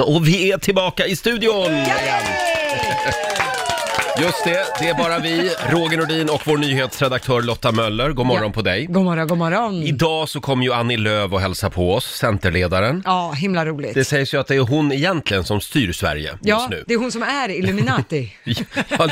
Och vi är tillbaka i studion! Just det, det är bara vi, Roger Nordin och vår nyhetsredaktör Lotta Möller. God morgon på dig. God morgon, god morgon. Idag så kom ju Annie Lööf och hälsa på oss, Centerledaren. Ja, himla roligt. Det sägs ju att det är hon egentligen som styr Sverige just ja, nu. det är hon som är Illuminati. Ja,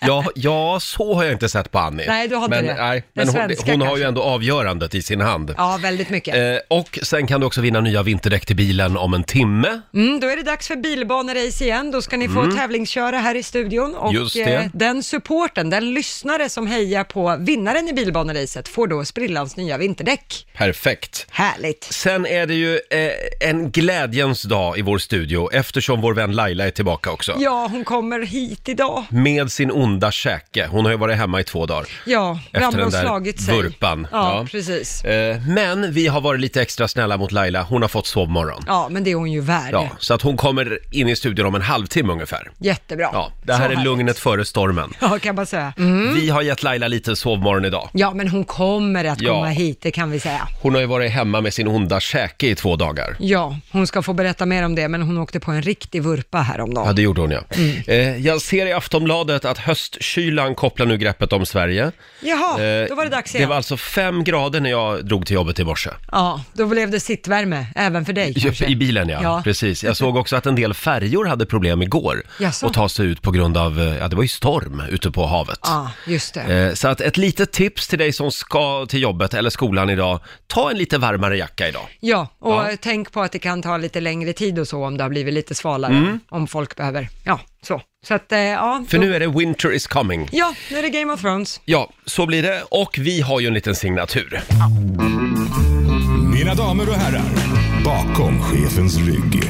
ja, ja, så har jag inte sett på Annie. Nej, du har inte men, det. Nej, Den men hon, svenska hon har ju kanske. ändå avgörandet i sin hand. ja, väldigt mycket. Eh, och sen kan du också vinna nya vinterdäck till bilen om en timme. Mm, då är det dags för bilbanerace igen. Då ska ni få tävlingsköra här i studion. Och Mm. Just det. eh, den supporten, den lyssnare som hejar på vinnaren i bilbaneracet får då sprillans nya vinterdäck. Perfekt. Härligt. Sen är det ju eh, en glädjens dag i vår studio eftersom vår vän Laila är tillbaka också. Ja, hon kommer hit idag. Med sin onda käke. Hon har ju varit hemma i två dagar. Ja, Efter ramlat den och där slagit sig. vurpan. Ja, Ja. precis. Eh, men vi har varit lite extra snälla mot Laila. Hon har fått sovmorgon. Ja, men det är hon ju värd. Ja, så att hon kommer in i studion om en halvtimme ungefär. Jättebra. Ja, det här Så är härligt. lugnet före stormen. Ja, kan man säga. Mm. Vi har gett Laila lite sovmorgon idag. Ja, men hon kommer att Ja. komma hit, det kan vi säga. Hon har ju varit hemma med sin onda käke i två dagar. Ja, hon ska få berätta mer om det, men hon åkte på en riktig vurpa Ja, häromdagen. det gjorde hon ja. Mm. Eh, jag ser i Aftonbladet att höstkylan kopplar nu greppet om Sverige. Jaha, Eh, då var det dags Det igen. var alltså fem grader när jag drog till jobbet i morse. Ja, då blev det sittvärme, även för dig kanske. I bilen ja. Ja. precis. Jag såg också att en del färjor hade problem igår Jaså? att ta sig ut på grund av, eh, ja det var ju storm ute på havet. Ja, just det. Eh, Så att ett litet tips till dig som ska till jobbet eller skolan idag, ta en lite varmare jacka idag. Ja, och Ja. eh, tänk på att det kan ta lite längre tid och så om det har blivit lite svalare, om folk behöver. Ja, så. Så att, eh, ja. Mm. För då- nu är det winter is coming. Ja, nu är det Game of Thrones. Ja, så blir det. Och vi har ju en liten signatur. Mina damer och herrar, bakom chefens rygg.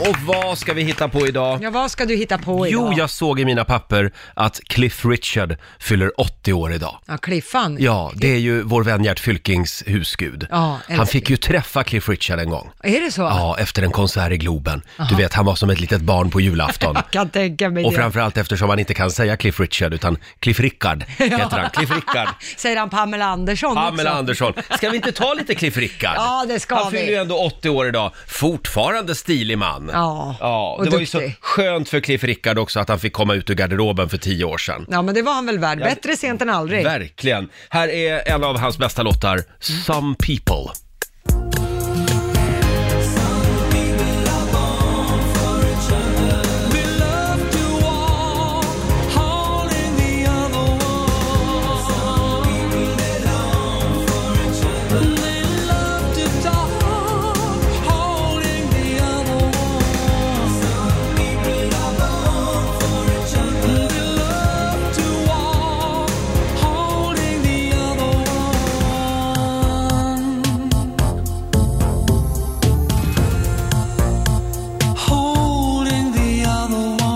Och vad ska vi hitta på idag? Ja, vad ska du hitta på idag? Jo, jag såg i mina papper att Cliff Richard fyller 80 år idag. Ja, Cliffan. Ja, det är ju vår vän Gert Fylkings husgud. Ja, älskar han fick ju träffa Cliff Richard en gång. Är det så? Ja, efter en konsert i Globen. Du vet, han var som ett litet barn på julafton. Jag kan tänka mig Och det. framförallt eftersom han inte kan säga Cliff Richard, utan Cliff Rickard heter han. Cliff Rickard. Säger han Pamela Andersson också? Pamela Andersson. Ska vi inte ta lite Cliff Rickard? Liksom. Ja, det ska Han vi. fyller ju ändå 80 år idag. Fortfarande stilig man. Ja, ja och Det var ju så duktig. skönt för Cliff Rickard också att han fick komma ut ur garderoben för tio år sedan. Ja, men det var han väl värd. Bättre sent än aldrig. Verkligen. Här är en av hans bästa låtar, Some People. Holding the other one.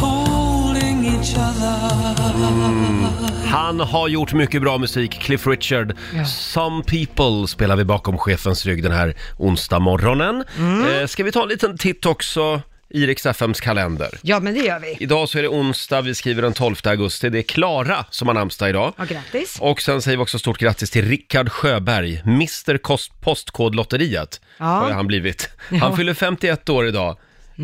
Holding each other. Han har gjort mycket bra musik, Cliff Richard. Ja. Some People spelar vi bakom chefens rygg den här onsdag morgonen. Eh, ska vi ta en liten titt också i Rix FMs kalender? Ja, men det gör vi. Idag så är det onsdag, vi skriver den 12 augusti. Det är Klara som har namnsdag idag. Ja, grattis. Och sen säger vi också stort grattis till Rickard Sjöberg, Mr Kost- Postkodlotteriet Ja. har han blivit. Han Ja. Mm. fyller 51 år idag.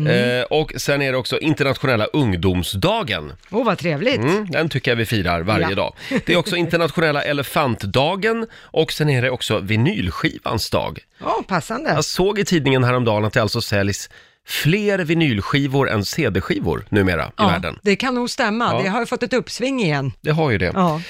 Eh, och sen är det också internationella ungdomsdagen. Åh, vad trevligt. Mm, den tycker jag vi firar varje Ja. dag. Det är också internationella elefantdagen och sen är det också vinylskivans dag. Ja, passande. Jag såg Alltså, i tidningen häromdagen att det alltså säljs fler vinylskivor än CD-skivor numera i ja, världen. det kan nog stämma. Ja. Det har ju fått ett uppsving igen. Det har ju det. Ja.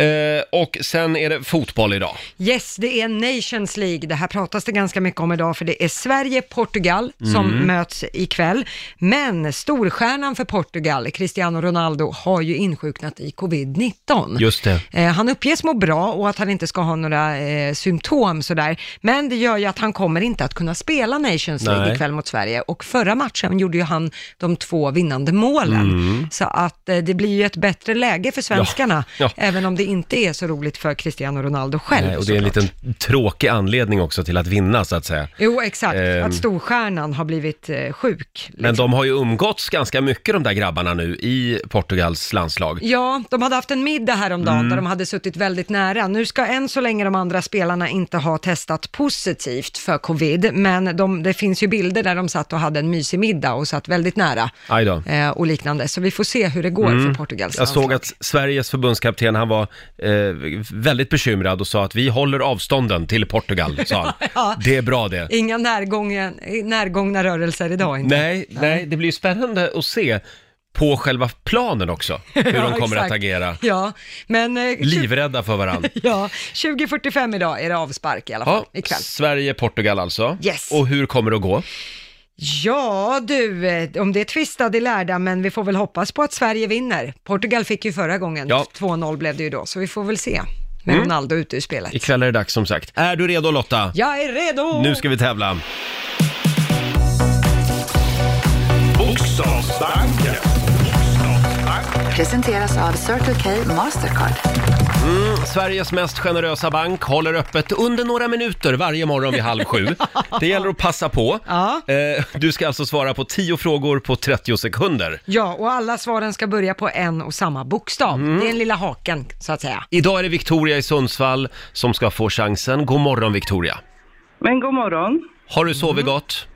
Eh, och sen är det fotboll idag. Yes, det är Nations League. Det här pratas det ganska mycket om idag, för det är Sverige-Portugal som Mm. möts ikväll. Men storstjärnan för Portugal, Cristiano Ronaldo, har ju insjuknat i covid-19. Just det. Eh, Han uppges må bra och att han inte ska ha några eh, symptom sådär. Men det gör ju att han kommer inte att kunna spela Nations League Nej. ikväll mot Sverige och och förra matchen gjorde ju han de två vinnande målen. Mm. Så att eh, det blir ju ett bättre läge för svenskarna, Ja, ja. även om det inte är så roligt för Cristiano Ronaldo själv. Nej, Eh, och det är en såklart. liten tråkig anledning också till att vinna så att säga. Jo, exakt. Ehm. Att storstjärnan har blivit eh, sjuk. Men de har ju umgåtts ganska mycket de där grabbarna nu i Portugals landslag. Ja, de hade haft en middag häromdagen Mm. där de hade suttit väldigt nära. Nu ska än så länge de andra spelarna inte ha testat positivt för covid, men de, det finns ju bilder där de satt och hade en mysig middag och satt väldigt nära Aj då. eh, och liknande. Så vi får se hur det går för Portugals Mm. Jag såg landslag. att Sveriges förbundskapten, han var eh, väldigt bekymrad och sa att vi håller avstånden till Portugal, sa han. Ja. Det är bra det. Inga närgångna, närgångna rörelser idag inte. Nej, nej, det blir ju spännande att se på själva planen också, hur Ja, de kommer att exakt. agera. Ja, men... eh, Livrädda för varandra. Ja, 20.45 idag är det avspark i alla fall, Ja, ikväll. Sverige-Portugal alltså. Yes. Och hur kommer det att gå? Ja du, eh, om det är tvistade lärda, men vi får väl hoppas på att Sverige vinner. Portugal fick ju förra gången, Ja. 2-0 blev det ju då, så vi får väl se. Med Ronaldo ute ur spelet. Ikväll är det dags som sagt. Är du redo Lotta? Jag är redo! Nu ska vi tävla. Bokstavsbanken. Presenteras av Circle K Mastercard. Sveriges mest generösa bank håller öppet under några minuter varje morgon vid halv sju. Det gäller att passa på. Ja. Eh, Du ska alltså svara på 10 frågor på 30 sekunder. Ja, och alla svaren ska börja på en och samma bokstav. Det är den lilla haken, så att säga. Idag är det Victoria i Sundsvall som ska få chansen. God morgon Victoria! Men god morgon. Har du sovit Mm. gott?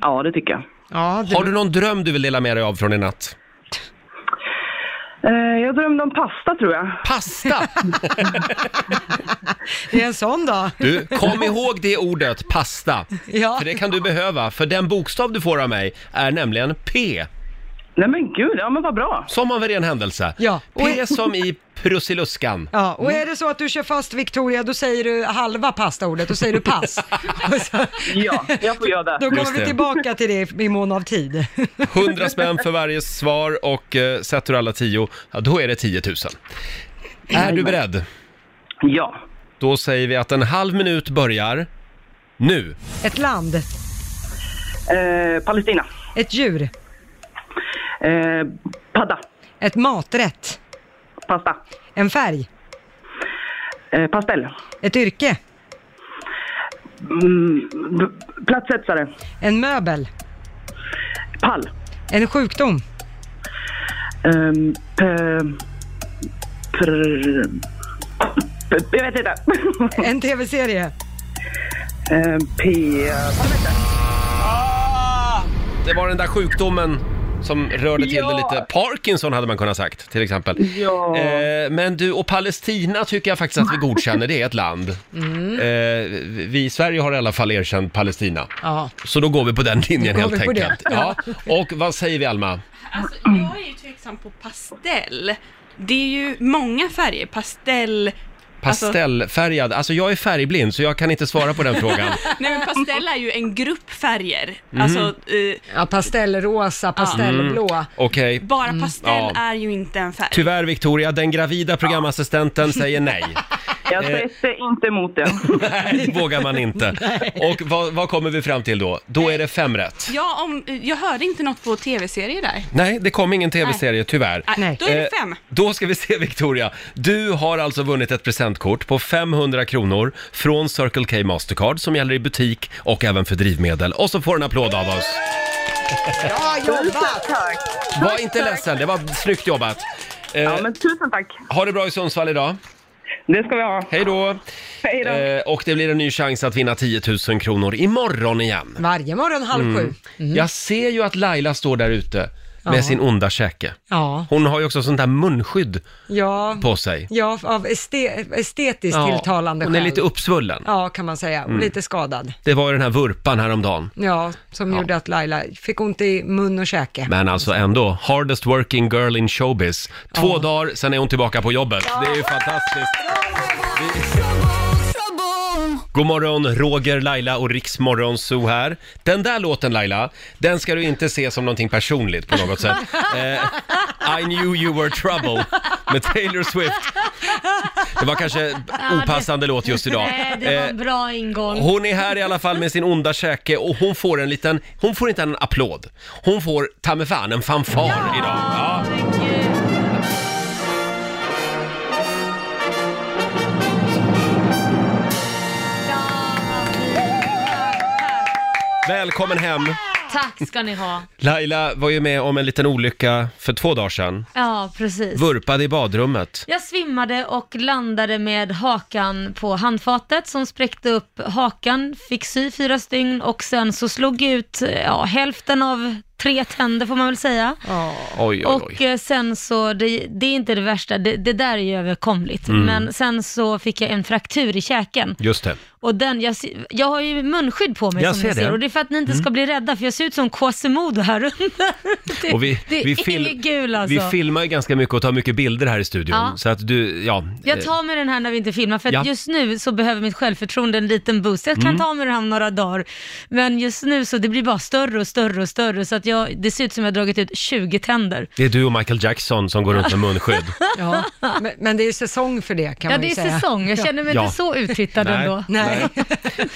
Ja, det tycker jag. Ja, Har du någon dröm du vill dela med dig av från i natt? Eh, jag drömde om pasta, tror jag. Pasta! det är en sån dag. Du, kom ihåg det ordet, pasta. Ja. För det kan du behöva, för den bokstav du får av mig är nämligen P. Nej, men gud. Ja, men vad bra. Som av en ren händelse. Ja. P som i prussiluskan. Ja, och är det så att du kör fast Victoria, då säger du halva pastaordet, då säger du pass. Och så, Ja, jag får göra det. då Just kommer det. vi tillbaka till det i mån av tid. 100 spänn för varje svar och eh, sätter du alla 10, ja, då är det 10 000. Är du beredd? Ja. Då säger vi att en halv minut börjar nu. Ett land, Eh, Palestina. ett djur, Eh, padda. ett maträtt, Pasta. en färg, Eh, pastell. ett yrke, Mm, b- platshetsare. en möbel, Pall. en sjukdom, Eh, p- pr- p- jag vet inte. en tv-serie, Eh, P... Det var den där sjukdomen som rörde till det Ja. lite. Parkinson hade man kunnat sagt till exempel. Ja. Eh, men du, och Palestina tycker jag faktiskt att vi godkänner, det är ett land. Mm. Eh, vi i Sverige har i alla fall erkänt Palestina. ja. Så då går vi på den linjen Då går helt vi på det. enkelt. Ja. Och vad säger vi Alma? Alltså, jag är ju tveksam på pastell. Det är ju många färger. Pastell... Pastellfärgad, alltså jag är färgblind så jag kan inte svara på den frågan. Nej men pastell är ju en grupp färger. Mhm. Alltså, eh, ja pastellrosa, pastellblå. Okej. bara Mm. pastell Ja. Typ- är ju inte en färg. Tyvärr Victoria, den gravida programassistenten säger nej. Jag sätter inte emot det. Nej, det vågar man inte. Och vad, vad kommer vi fram till då? Då är det fem rätt. Ja, om, eh, jag hörde inte något på tv-serier där. Nej, det kom ingen tv-serie tyvärr. Nej, Nej. Då är det Eh, fem. Då ska vi se Victoria. Du har alltså vunnit ett presentkort på 500 kronor från Circle K Mastercard som gäller i butik och även för drivmedel. Och så får du en applåd av oss. Bra jobbat! Tack. Var inte ledsen, det var snyggt jobbat. Eh, Ja, men tusen tack. ha det bra i Sundsvall idag. Det ska vi ha. Hej då! Hej då. Eh, och det blir en ny chans att vinna 10 000 kronor imorgon igen. Varje morgon halv Mm. sju. Mhm. Jag ser ju att Laila står där ute med Ja. sin onda käke. Ja, Hon har ju också sånt där munskydd ja, på sig. ja av este- estetiskt tilltalande Hon är skäl. lite Mm. uppsvullen. Ja, kan man säga. Och lite skadad. Det var ju den här vurpan häromdagen. Ja, som gjorde att Laila fick ont i mun och käke. Men alltså ändå, hardest working girl in showbiz. Två dagar, sen är hon tillbaka på jobbet. Det är ju fantastiskt. Trouble, trouble. God morgon, Roger, Laila och Riksmorgon Zoo här. Den där låten Laila, den ska du inte se som någonting personligt på något sätt. Eh, I knew you were trouble med Taylor Swift. Det var kanske opassande låt just idag. Nej, det var Eh, en bra ingång. hon är här i alla fall med sin onda käke och hon får en liten, hon får inte en applåd. Hon får ta mig fan en fanfar idag. Ja. Välkommen hem! Tack ska ni ha. Laila var ju med om en liten olycka för två dagar sedan. Ja, precis. Vurpade i badrummet. Jag svimmade och landade med hakan på handfatet som spräckte upp hakan, fick sy fyra stygn och sen så slog jag ut ja, hälften av tre tänder får man väl säga. Oj, oj, Och oj. eh, sen så, det, det är inte det värsta, det, det där är ju överkomligt, Mm. men sen så fick jag en fraktur i käken. Just det. Och den, jag, se- jag har ju munskydd på mig Jag som ser ni ser det. Mm. och det är för att ni inte ska bli rädda för jag ser ut som Quasimodo här under. Det, Och vi, det vi, är fil- inget kul alltså. vi filmar ju ganska mycket och tar mycket bilder här i studion. Ja. Så att du, ja. eh, jag tar med den här när vi inte filmar för att Ja. Mm. just nu så behöver mitt självförtroende en liten boost. Jag kan ta med den här om några dagar. Men just nu så det blir bara större och större och större så att jag, det ser ut som jag har dragit ut 20 tänder. Det är du och Michael Jackson som går runt med munskydd. Ja. Men, men det är säsong för det kan Ja man ju det är säga. säsong, jag känner mig Ja. inte så uttittad Nej. ändå. Nej.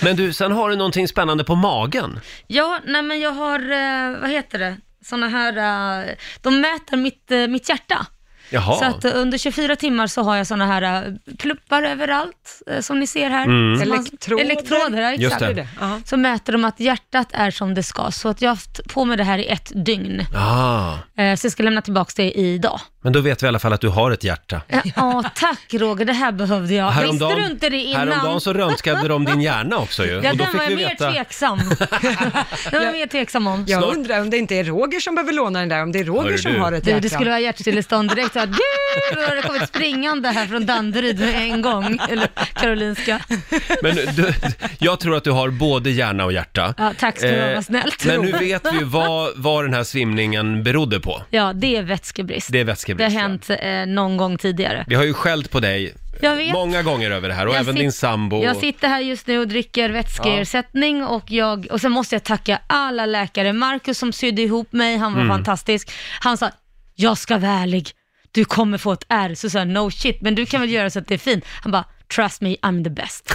Men du, sen har du någonting spännande på magen. Ja, nej men jag har, eh, vad heter det, sådana här, eh, de mäter mitt, eh, mitt hjärta. Jaha. Så att eh, under 24 timmar så har jag sådana här eh, pluppar överallt, eh, som ni ser här. Som man- Elektroder. elektroder ja, Mm. Just exakt. det. Ja. Så mäter de att hjärtat är som det ska, så att jag har haft på mig det här i ett dygn. Ah, Eh, Så jag ska lämna tillbaka det idag. men då vet vi i alla fall att du har ett hjärta. Ja, Ja, tack Roger, det här behövde jag. Visste du inte det innan? häromdagen så röntgade de din hjärna också ju. Ja, och då den fick var vi jag mer veta... tveksam. den var jag mer tveksam om. Jag Snart- undrar om det inte är Roger som behöver låna den där, om det är Roger Hör som du. har ett Du, hjärta. det skulle vara hjärtstillestånd direkt. Så här, Du, då har det kommit springande här från Danderyd med en gång. Eller Karolinska. Men du, jag tror att du har både hjärna och hjärta. Ja, tack ska du ha, Eh, vad snällt. Men nu vet vi ju vad, vad den här svimningen berodde på. Ja, det är vätskebrist. Det är vätskebrist, Det ja. har hänt eh, någon gång tidigare. Vi har ju skällt på dig Jag vet. många gånger över det här och Jag även sit- din sambo. Jag sitter här just nu och dricker vätskeersättning och, jag, och sen måste jag tacka alla läkare. Marcus som sydde ihop mig, han var Mm. fantastisk. Han sa, jag ska vara ärlig, du kommer få ett R. Så sa jag, no shit, men du kan väl göra så att det är fint. Han bara, trust me, I'm the best.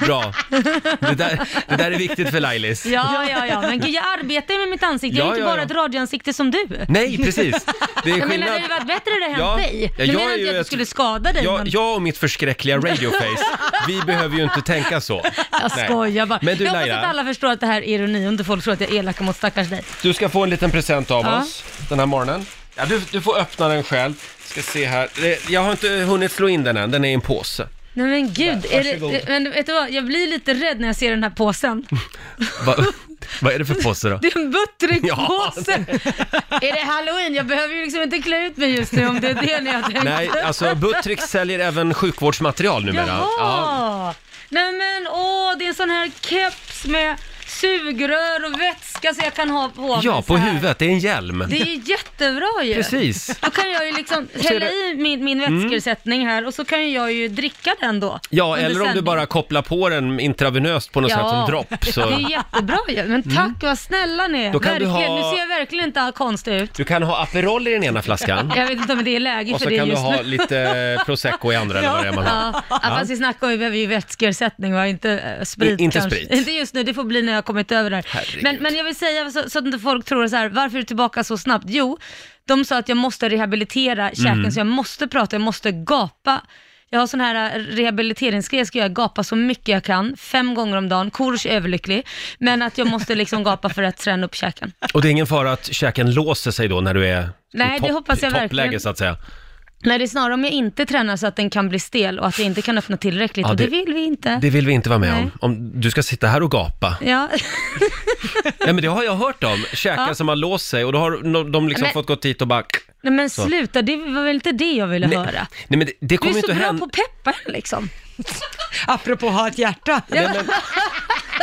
Bra. Det där, det där är viktigt för Lailis. Ja, ja, ja, men gud, jag arbetar ju med mitt ansikte. Jag Ja, är inte ja, bara ja. ett radioansikte som du. Nej, precis. Det är Jag menar, det skillnad. hade varit bättre det hänt Ja. dig. Ja, Nu jag menar är inte ju jag att du ett- skulle skada dig, Jag, men jag och mitt förskräckliga radioface, vi behöver ju inte tänka så. jag Nej. skojar bara. Men du jag hoppas Laila, att alla förstår att det här är ironi och inte folk tror att jag är elak mot stackars dig. du ska få en liten present av Ja. oss den här morgonen. Ja, du, du får öppna den själv. Ska se här. Det- Jag har inte hunnit slå in den än, den är i en påse. Nej men gud, är varsågod. det, men vet du vad, jag blir lite rädd när jag ser den här påsen. Va, vad är det för påse då? Det är en butterikpåse. Ja. är det halloween? Jag behöver ju liksom inte klä ut mig just nu om det är det ni har tänkt. Nej, alltså Buttrick säljer även sjukvårdsmaterial numera. Jaha! Nej men åh, det är en sån här keps med sugrör och vätska så jag kan ha på mig Ja, så på här. huvudet. Det är en hjälm. Det är jättebra ju. Precis. Då kan jag ju liksom så är hälla det- Mm. i min, min vätskeersättning här och så kan ju jag ju dricka den då. Ja, under eller om du sändning. bara kopplar på den intravenöst på något sätt som dropp. Det Så Mm. är jättebra ju. Men tack, vad snälla ni är. Då kan du Verkligen. ha- Nu ser jag verkligen inte konstig ut. du kan ha Aperol i den ena flaskan Jag vet inte om det är läge och för så det kan du just ha nu. lite prosecco i andra eller vad det är man har. Ja, ja, fast vi snackar om, vi behöver ju vätskeersättning va, inte eh, sprit I- inte kanske. sprit. Inte just nu, det får bli när jag har kommit över det här. Herregud. Men, men jag vill säga så, så att inte folk tror så här, varför är du tillbaka så snabbt? Jo, de sa att jag måste rehabilitera käken Mm. så jag måste prata, jag måste gapa. Jag har sån här eh, rehabiliteringsgrej, jag ska göra gapa så mycket jag kan, fem gånger om dagen. Korosh är överlycklig, men att jag måste liksom gapa för att träna upp käken. Och det är ingen fara att käken låser sig då när du är Nej, i det topp, hoppas jag toppläge verkligen. så att säga. Nej, det är snarare om jag inte tränar så att den kan bli stel och att jag inte kan öppna tillräckligt Ja, och det det- vill vi inte. Det vill vi inte vara med Nej. om. om. Du ska sitta här och gapa. Ja. Nej men det har jag hört om, käkar som har låst sig och då har no- de liksom Men- fått gått dit och bara... Nej men Så. sluta, det var väl inte det jag ville Nej, höra. nej men det, det Du kommer är ju så inte bra hända. på att peppa liksom. Apropå ha ett hjärta. Nej, men,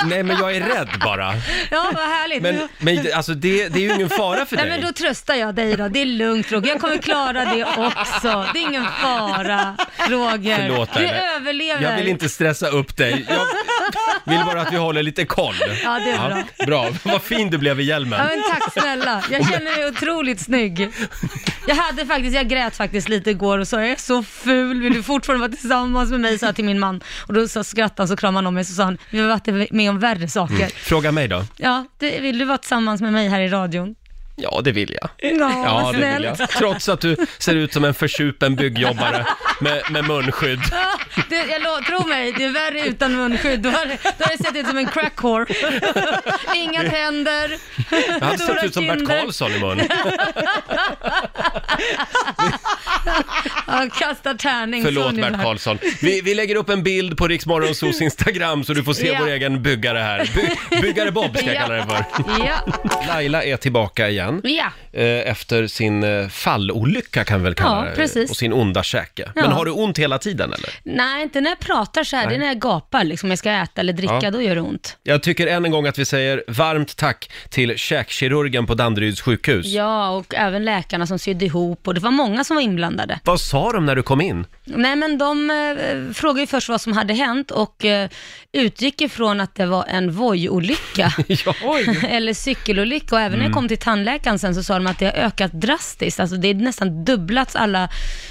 Nej, men jag är rädd bara. Ja, vad härligt. Men, men alltså, det, det är ju ingen fara för Nej men då dig. tröstar jag dig då. Det är lugnt Roger, jag kommer klara det också. Det är ingen fara Roger. Förlåt, du Laila. överlever. Jag vill inte stressa upp dig. Jag vill bara att vi håller lite koll. Ja, det är bra. bra. Vad fin du blev i Ja, hjälmen. men tack snälla. Jag känner mig otroligt snygg. Jag hade faktiskt, jag grät faktiskt lite igår och sa jag är så ful, vill du fortfarande vara tillsammans med mig? Sa jag till min man. Och då så skrattade han så kramade han om mig så sa han, vi har varit med om värre saker. Fråga mig då. Ja, det, vill du vara tillsammans med mig här i radion? Ja, det vill jag. Ja, Ja, vad det vill snällt. jag. Trots att du ser ut som en försupen byggjobbare med, med munskydd. Ja, det, jag lo, tro mig, det är värre utan munskydd. Då har, då har jag sett ut som en crack whore. Inga tänder, Jag hade stora sett ut som Bert kinder. Karlsson i mun. Ja, kastar tärning. Förlåt sån är Bert värd. Karlsson. Vi, vi lägger upp en bild på Riksmorgonsos Instagram så du får se Ja. vår egen byggare här. By, byggare Bob ska jag kalla det för. Ja, Laila är tillbaka igen. ja. eh, Efter sin eh, fallolycka kan vi väl kalla Ja, det, precis. och sin onda käke. Men Ja. har du ont hela tiden eller? Nej, inte när jag pratar så här. Det är när jag gapar liksom. Jag ska äta eller dricka, Ja. då gör det ont. Jag tycker än en gång att vi säger varmt tack till käkkirurgen på Danderyds sjukhus. Ja, och även läkarna som sydde ihop och det var många som var inblandade. Vad sa de när du kom in? Nej, men de eh, frågade ju först vad som hade hänt och eh, utgick ifrån att det var en vojolycka. Ja. Mm. eller cykelolycka och även när jag kom till tandläkaren sen så sa de att det har ökat drastiskt. Alltså det är nästan dubblats alla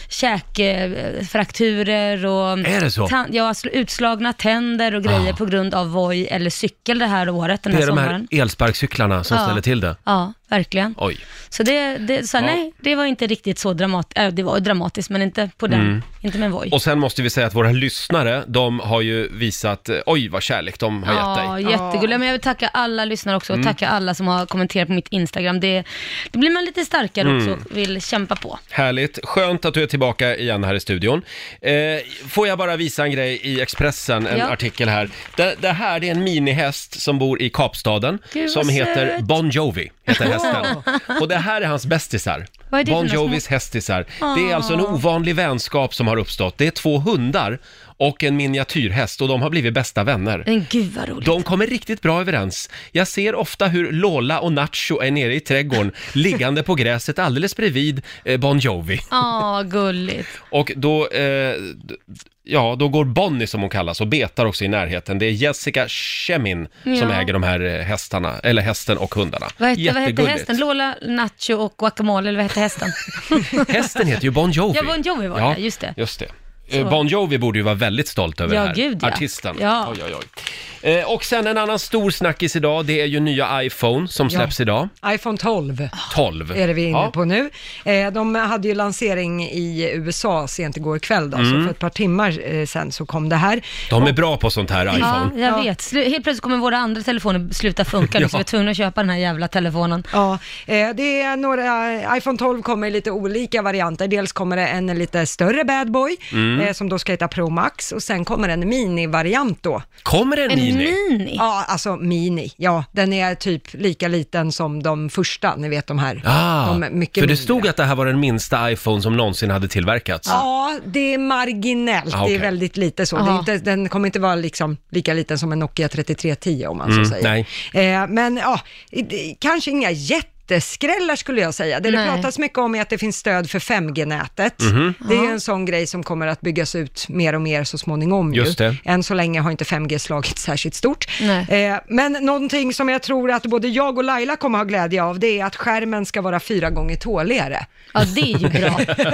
käkfrakturer och Är det så? tan- ja, alltså utslagna tänder och grejer Ah. på grund av voj eller cykel det här året, den Det här är de sommaren. här elsparkcyklarna som Ja. ställer till det. Ja, verkligen. Oj. Så det, det så Ja. nej, det var inte riktigt så dramatiskt, äh, det var dramatiskt men inte på den, Mm. inte med en voj. Och sen måste vi säga att våra lyssnare, de har ju visat, eh, oj vad kärlek de har gett dig. Mm. Ja, jättegulliga. Men jag vill tacka alla lyssnare också och tacka alla som har kommenterat på mitt Instagram. Det, då blir man lite starkare Mm. också och vill kämpa på. Härligt, skönt att du är tillbaka igen här i studion. Eh, får jag bara visa en grej i Expressen, en Ja. artikel här. Det, det här det är en minihäst som bor i Kapstaden, Gud, vad som heter söt. Bon Jovi, heter hästen. Och det här är hans bästisar. Vad är det för Ah. Bon några små- Jovis hästisar. Det är alltså en ovanlig vänskap som har uppstått. Det är två hundar och en miniatyrhäst och de har blivit bästa vänner. Men gud vad roligt. De kommer riktigt bra överens. Jag ser ofta hur Lola och Nacho är nere i trädgården, liggande på gräset alldeles bredvid eh, Bon Jovi. Ja, gulligt. Och då, eh, d- ja, då går Bonnie som hon kallas och betar också i närheten. Det är Jessica Shemin som Ja. äger de här eh, hästarna, eller hästen och hundarna. Vad hette, vad hette Jättegulligt. hästen? Lola, Nacho och Guacamole, eller vad hette hästen? Hästen heter ju Bon Jovi. Ja, Bon Jovi var det, just det. Just det. Eh, Bon Jovi borde ju vara väldigt stolt över Ja, det här. gud, ja. Artisten. Ja. Oj, oj, oj. Eh, Och sen en annan stor snackis idag, det är ju nya iPhone som släpps idag. iPhone 12 12. är det vi är inne Ja. på nu. Eh, de hade ju lansering i USA sent igår kväll då, Mm. så för ett par timmar eh, sen så kom det här. De är bra på sånt här, Ja, iPhone. jag vet. Slu- Helt plötsligt kommer våra andra telefoner sluta funka, Ja. så vi är tvungna att köpa den här jävla telefonen. Ja, eh, det är några, eh, iPhone 12 kommer i lite olika varianter. Dels kommer det en lite större bad boy Mm. eh, som då ska heta Pro Max och sen kommer en minivariant då. Kommer det en, En mini? mini? Ja, alltså mini. Ja, den är typ lika liten som de första, ni vet de här. Ah, de är mycket för det mindre. stod att det här var den minsta iPhone som någonsin hade tillverkats. Ja, det är marginellt. Ah, okej. Det är väldigt lite så. Det är Aha. inte, den kommer inte vara liksom lika liten som en Nokia 3310 om man Mm, så säger. Eh, men ja, i- det- kanske inga jätteskrällar skulle jag säga. Det det Nej. pratas mycket om är att det finns stöd för 5G-nätet. Mhm. Det är ju en sån grej som kommer att byggas ut mer och mer så småningom. Just ju. det. Än så länge har inte 5G slagit särskilt stort. Nej. Eh, men någonting som jag tror att både jag och Laila kommer ha glädje av, det är att skärmen ska vara fyra gånger tåligare. Ja, det är ju bra.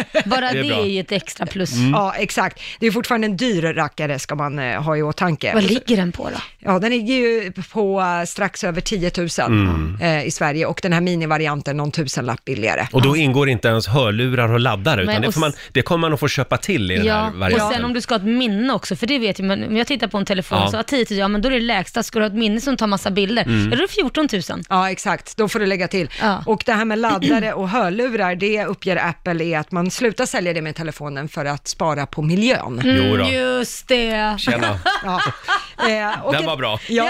Bara Det det är är, bra. ju ett extra plus. Mm. Ja, exakt. Det är fortfarande en dyr rackare ska man eh, ha i åtanke. Vad ligger den på då? Ja, den ligger ju på eh, strax över 10 000 Mm. eh, i Sverige och den här minivarianten någon tusenlapp billigare. Och då ingår inte ens hörlurar och laddare, utan Men det, och får man, s- det kommer man att få köpa till i den Ja, här varianten. och sen om du ska ha ett minne också, för det vet jag, men om jag tittar på en telefon Ja. så har 10 000, ja men då är det lägsta. Ska du ha ett minne som tar massa bilder, Mm. ja, då är det 14 000. Ja, exakt. Då får du lägga till. Ja. Och det här med laddare och hörlurar, det uppger Apple är att man slutar sälja Mm. Mm, Mm, det med telefonen för att spara på miljön. Jo då. Just det. Tjena. Ja. Eh, och Den ett- var bra. Ja.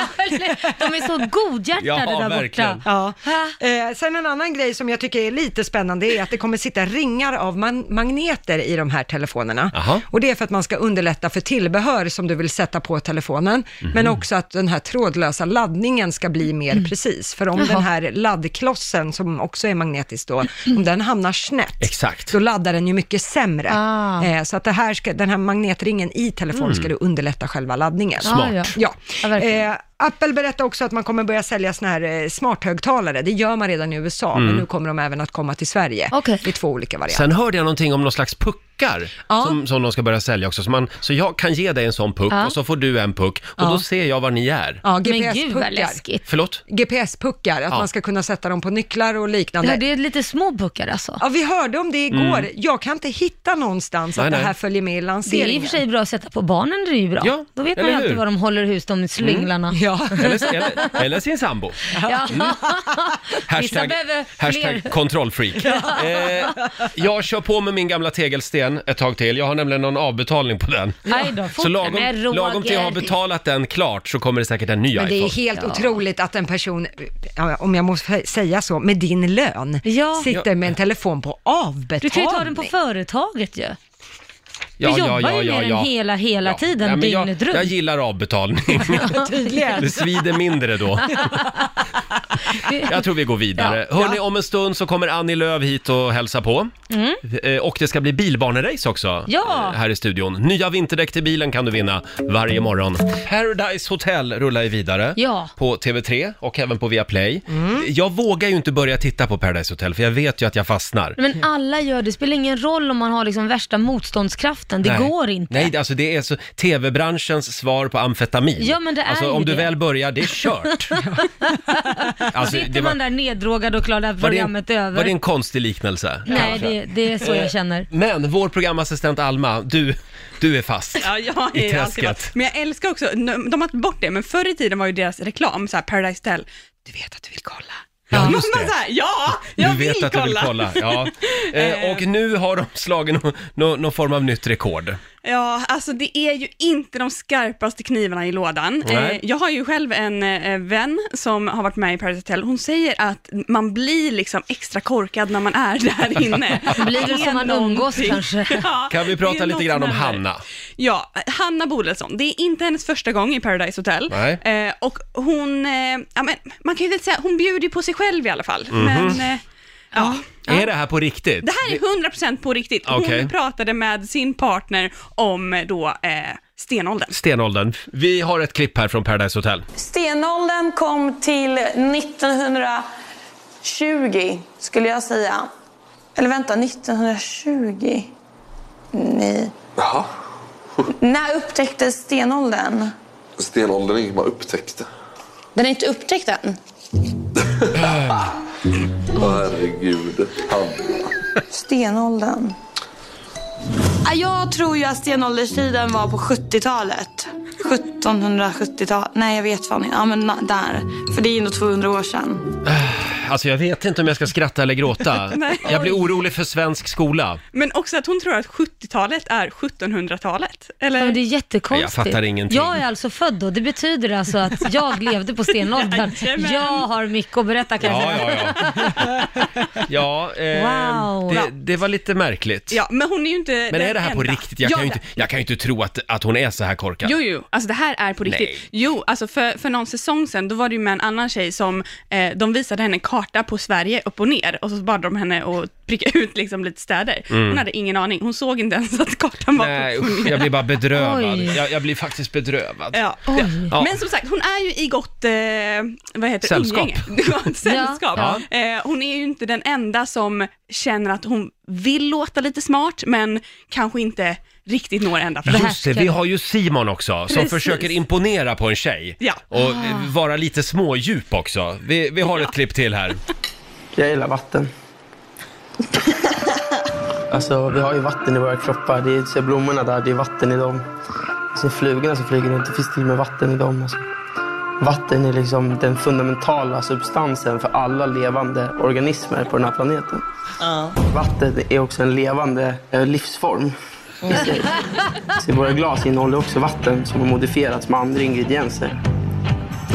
De är så godhjärtade Ja, där verkligen. borta. Ja. Ha. Eh, sen en annan grej som jag tycker är lite spännande är att det kommer sitta ringar av man- magneter i de här telefonerna. Jaha. Och det är för att man ska underlätta för tillbehör som du vill sätta på telefonen, men Mhm. också att den här trådlösa laddningen ska bli mer Mm. precis. För om den här laddklossen, som också är magnetisk då, om den hamnar snett, Exakt. då laddar den ju mycket sämre. Ah. Eh, så att det här ska, den här magnetringen i telefonen ska du underlätta själva laddningen. Smart. Ja, ja. Ja. Ja, verkligen. eh, Apple berättar också att man kommer börja sälja såna här eh, smarthögtalare. Det gör man redan i USA, Mm. men nu kommer de även att komma till Sverige. Okej. I två olika varianter. Sen hörde jag någonting om någon slags puckar Ja. som, som de ska börja sälja också. Så, man, så jag kan ge dig en sån puck Ja. och så får du en puck och då ser jag var ni är. Ja, Men gud vad GPS-puckar. läskigt. Förlåt? GPS-puckar, att Ja. man ska kunna sätta dem på nycklar och liknande. Ja, det är lite små puckar alltså. Ja, vi hörde om det igår. Jag kan inte hitta någonstans Mm. Nej, att det nej. här följer med i Det är lanseringen. i och för sig bra att sätta på barnen, det är ju bra. Ja, Då vet man eller ju alltid hur? Mm. var de håller hus, de slynglarna. Ja. Eller, eller, eller sin sambo. Ja. Vissa Mm. Hashtag, behöver hashtag fler. kontrollfreak. Eh, jag kör på med min gamla tegelsten ett tag till. Jag har nämligen någon avbetalning på den. Aj då, fort Så lagom, med Roger. lagom till jag har betalat den klart så kommer det säkert en ny Men det är iPhone. helt Ja. otroligt att en person, ja, om jag måste säga så, med din lön, Ja. sitter med en telefon på avbetalning. Du kan ju ta den på företaget ju. Ja, vi jobbar ju med den hela, hela tiden, Nej, men dygnet jag, runt. jag gillar avbetalning. Tydligen. Det svider mindre då. Jag tror vi går vidare. Hörni, om en stund så kommer Annie Lööf hit och hälsa på. Eh, Och det ska bli bilbanerace också Mm. Ja. eh, här i studion. Nya vinterdäck till bilen kan du vinna varje morgon. Paradise Hotel rullar ju vidare Ja. Mm. på TV3 och även på Viaplay. Jag vågar ju inte börja titta på Paradise Hotel för jag vet ju att jag fastnar. Men alla gör det, det spelar ingen roll om man har liksom värsta motståndskraften, det Nej. går inte. Nej, det- alltså det är så, tv-branschens svar på amfetamin. Ja, men det är alltså ju om du det. väl börjar, det är kört. alltså, Sitter man där neddrogad och klar det här var det, programmet är en, över. var det en Eh. konstig liknelse? Nej, kanske? det, det är så jag känner. Men vår programassistent Alma, du, du är fast. Ja, jag har I ju alltid varit. träsket. Men jag älskar också, n- de har tagit bort det, men förr i tiden var ju deras reklam, så här Paradise Hotel, du vet att du vill kolla. Ja, Då just var man det. Så här, ja, jag du vet vill, att kolla. du vill kolla. Ja. Eh, och nu har de slagit någon nå nå form av nytt rekord. Ja, alltså det är ju inte de skarpaste knivarna i lådan. Nej. Eh, jag har ju själv en eh, vän som har varit med i Paradise Hotel. Hon säger att man blir liksom extra korkad när man är där inne. Blir det är som man umgås någonting. kanske? Ja, Kan vi det prata är lite något grann som om händer. Hanna? Ja, Hanna Bolesson. Det är inte hennes första gång i Paradise Hotel. Nej. Eh, och hon, eh, ja, men, man kan ju inte säga, hon bjuder ju på sig själv i alla fall. Mhm. Men, eh, ja. Är det här på riktigt? Det här är 100% på riktigt. Hon Okej. pratade med sin partner om eh, då eh, stenåldern. Stenåldern. Vi har ett klipp här från Paradise Hotel. Stenåldern kom till 1920 skulle jag säga. Eller vänta, 1920? Nej. Jaha. När upptäcktes stenåldern? Stenåldern är inget man upptäckte. Den är inte upptäckt än. Åh herregud. Hanna. Stenåldern. Ah, Jag tror ju att stenålderstiden var på 70-talet. 1770-tal. Nej, jag vet fan inte. Ja, men na- där. För det är ju ändå 200 år sedan. Alltså jag vet inte om jag ska skratta eller gråta. Nej. jag blir orolig för svensk skola. Men också att hon tror att 70-talet är 1700-talet. Ja, men Eller? det är jättekonstigt. Jag fattar ingenting. Jag är alltså född då, det betyder alltså att jag levde på stenåldern. Jajamän. jag har mycket att berätta kanske. Ja, ja, ja. ja eh, Wow. det, det var lite märkligt. Ja, men hon är ju inte Men är den det här på enda. riktigt? Jag Ja, kan ju det- inte, jag kan ju inte tro att, att hon är så här korkad. Jo, jo, alltså det här är på riktigt. Nej. Jo, alltså för, för någon säsong sedan, då var det ju med en annan tjej som, eh, de visade henne en karta på Sverige upp och ner och så bad de henne att pricka ut liksom lite städer. Hon hade ingen aning, hon såg inte ens att kartan var Mm. Nej, på usch, jag blir bara bedrövad. Oj. Jag, jag blir faktiskt bedrövad. Ja. Oj. Ja. Men som sagt, hon är ju i gott, eh, vad heter det, Sällskap. umgänge. Ja, ett sällskap. Ja. Eh, hon är ju inte den enda som känner att hon vill låta lite smart, men kanske inte riktigt når ända fram. Just det, vi har ju Simon också som Precis. försöker imponera på en tjej. Ja. Och eh, vara lite smådjup också. Vi, vi har ett klipp till här. Jag gillar vatten. Alltså, vi har ju vatten i våra kroppar. Det är, ser blommorna där, det är vatten i dem. Ser flugorna som flyger runt, det finns till och med vatten i dem. Alltså. Vatten är liksom den fundamentala substansen för alla levande organismer på den här planeten. Vatten är också en levande eh, livsform. Mm. Så våra glas innehåller också vatten som har modifierats med andra ingredienser.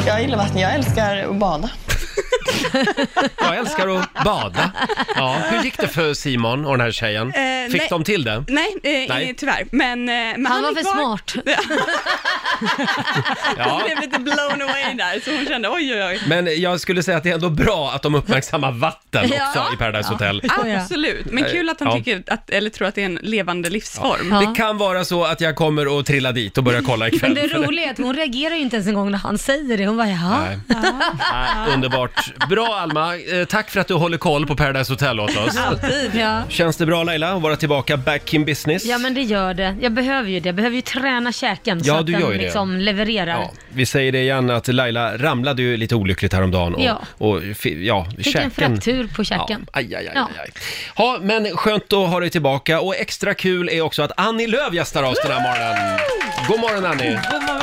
Jag gillar vatten, jag älskar att bada. Jag älskar att bada. Ja. Hur gick det för Simon och den här tjejen? Eh, Fick nej. de till det? Nej, eh, Nej. tyvärr. Men, eh, men Han var gick för bort. smart. Hon Ja. blev lite blown away där, så hon kände oj, oj, oj. Men jag skulle säga att det är ändå bra att de uppmärksammar vatten Ja. också i Paradise Hotel. Ah, Absolut, men kul att han Ja. tycker att, eller tror att det är en levande livsform. Det kan vara så att jag kommer att trilla dit och börja kolla ikväll. Men det för det- roliga är att hon reagerar ju inte ens en gång när han säger det. Hon bara jaha. Nej. Nej, underbart. Bra Alma, Eh, tack för att du håller koll på Paradise Hotel åt oss. Alltid. Ja. Känns det bra Laila att vara tillbaka back in business? ja men det gör det. Jag behöver ju det. Jag behöver ju träna käken så Ja, att du den gör ju det. liksom levererar. Ja, vi säger det igen att Laila ramlade ju lite olyckligt häromdagen och, Ja. och fi- ja, Fick en fraktur på käken. Ja, aj, aj, aj, Ja. aj, aj. Ja, men skönt att ha dig tillbaka och extra kul är också att Annie Lööf gästar oss den här morgonen. God morgon Annie! God morgon.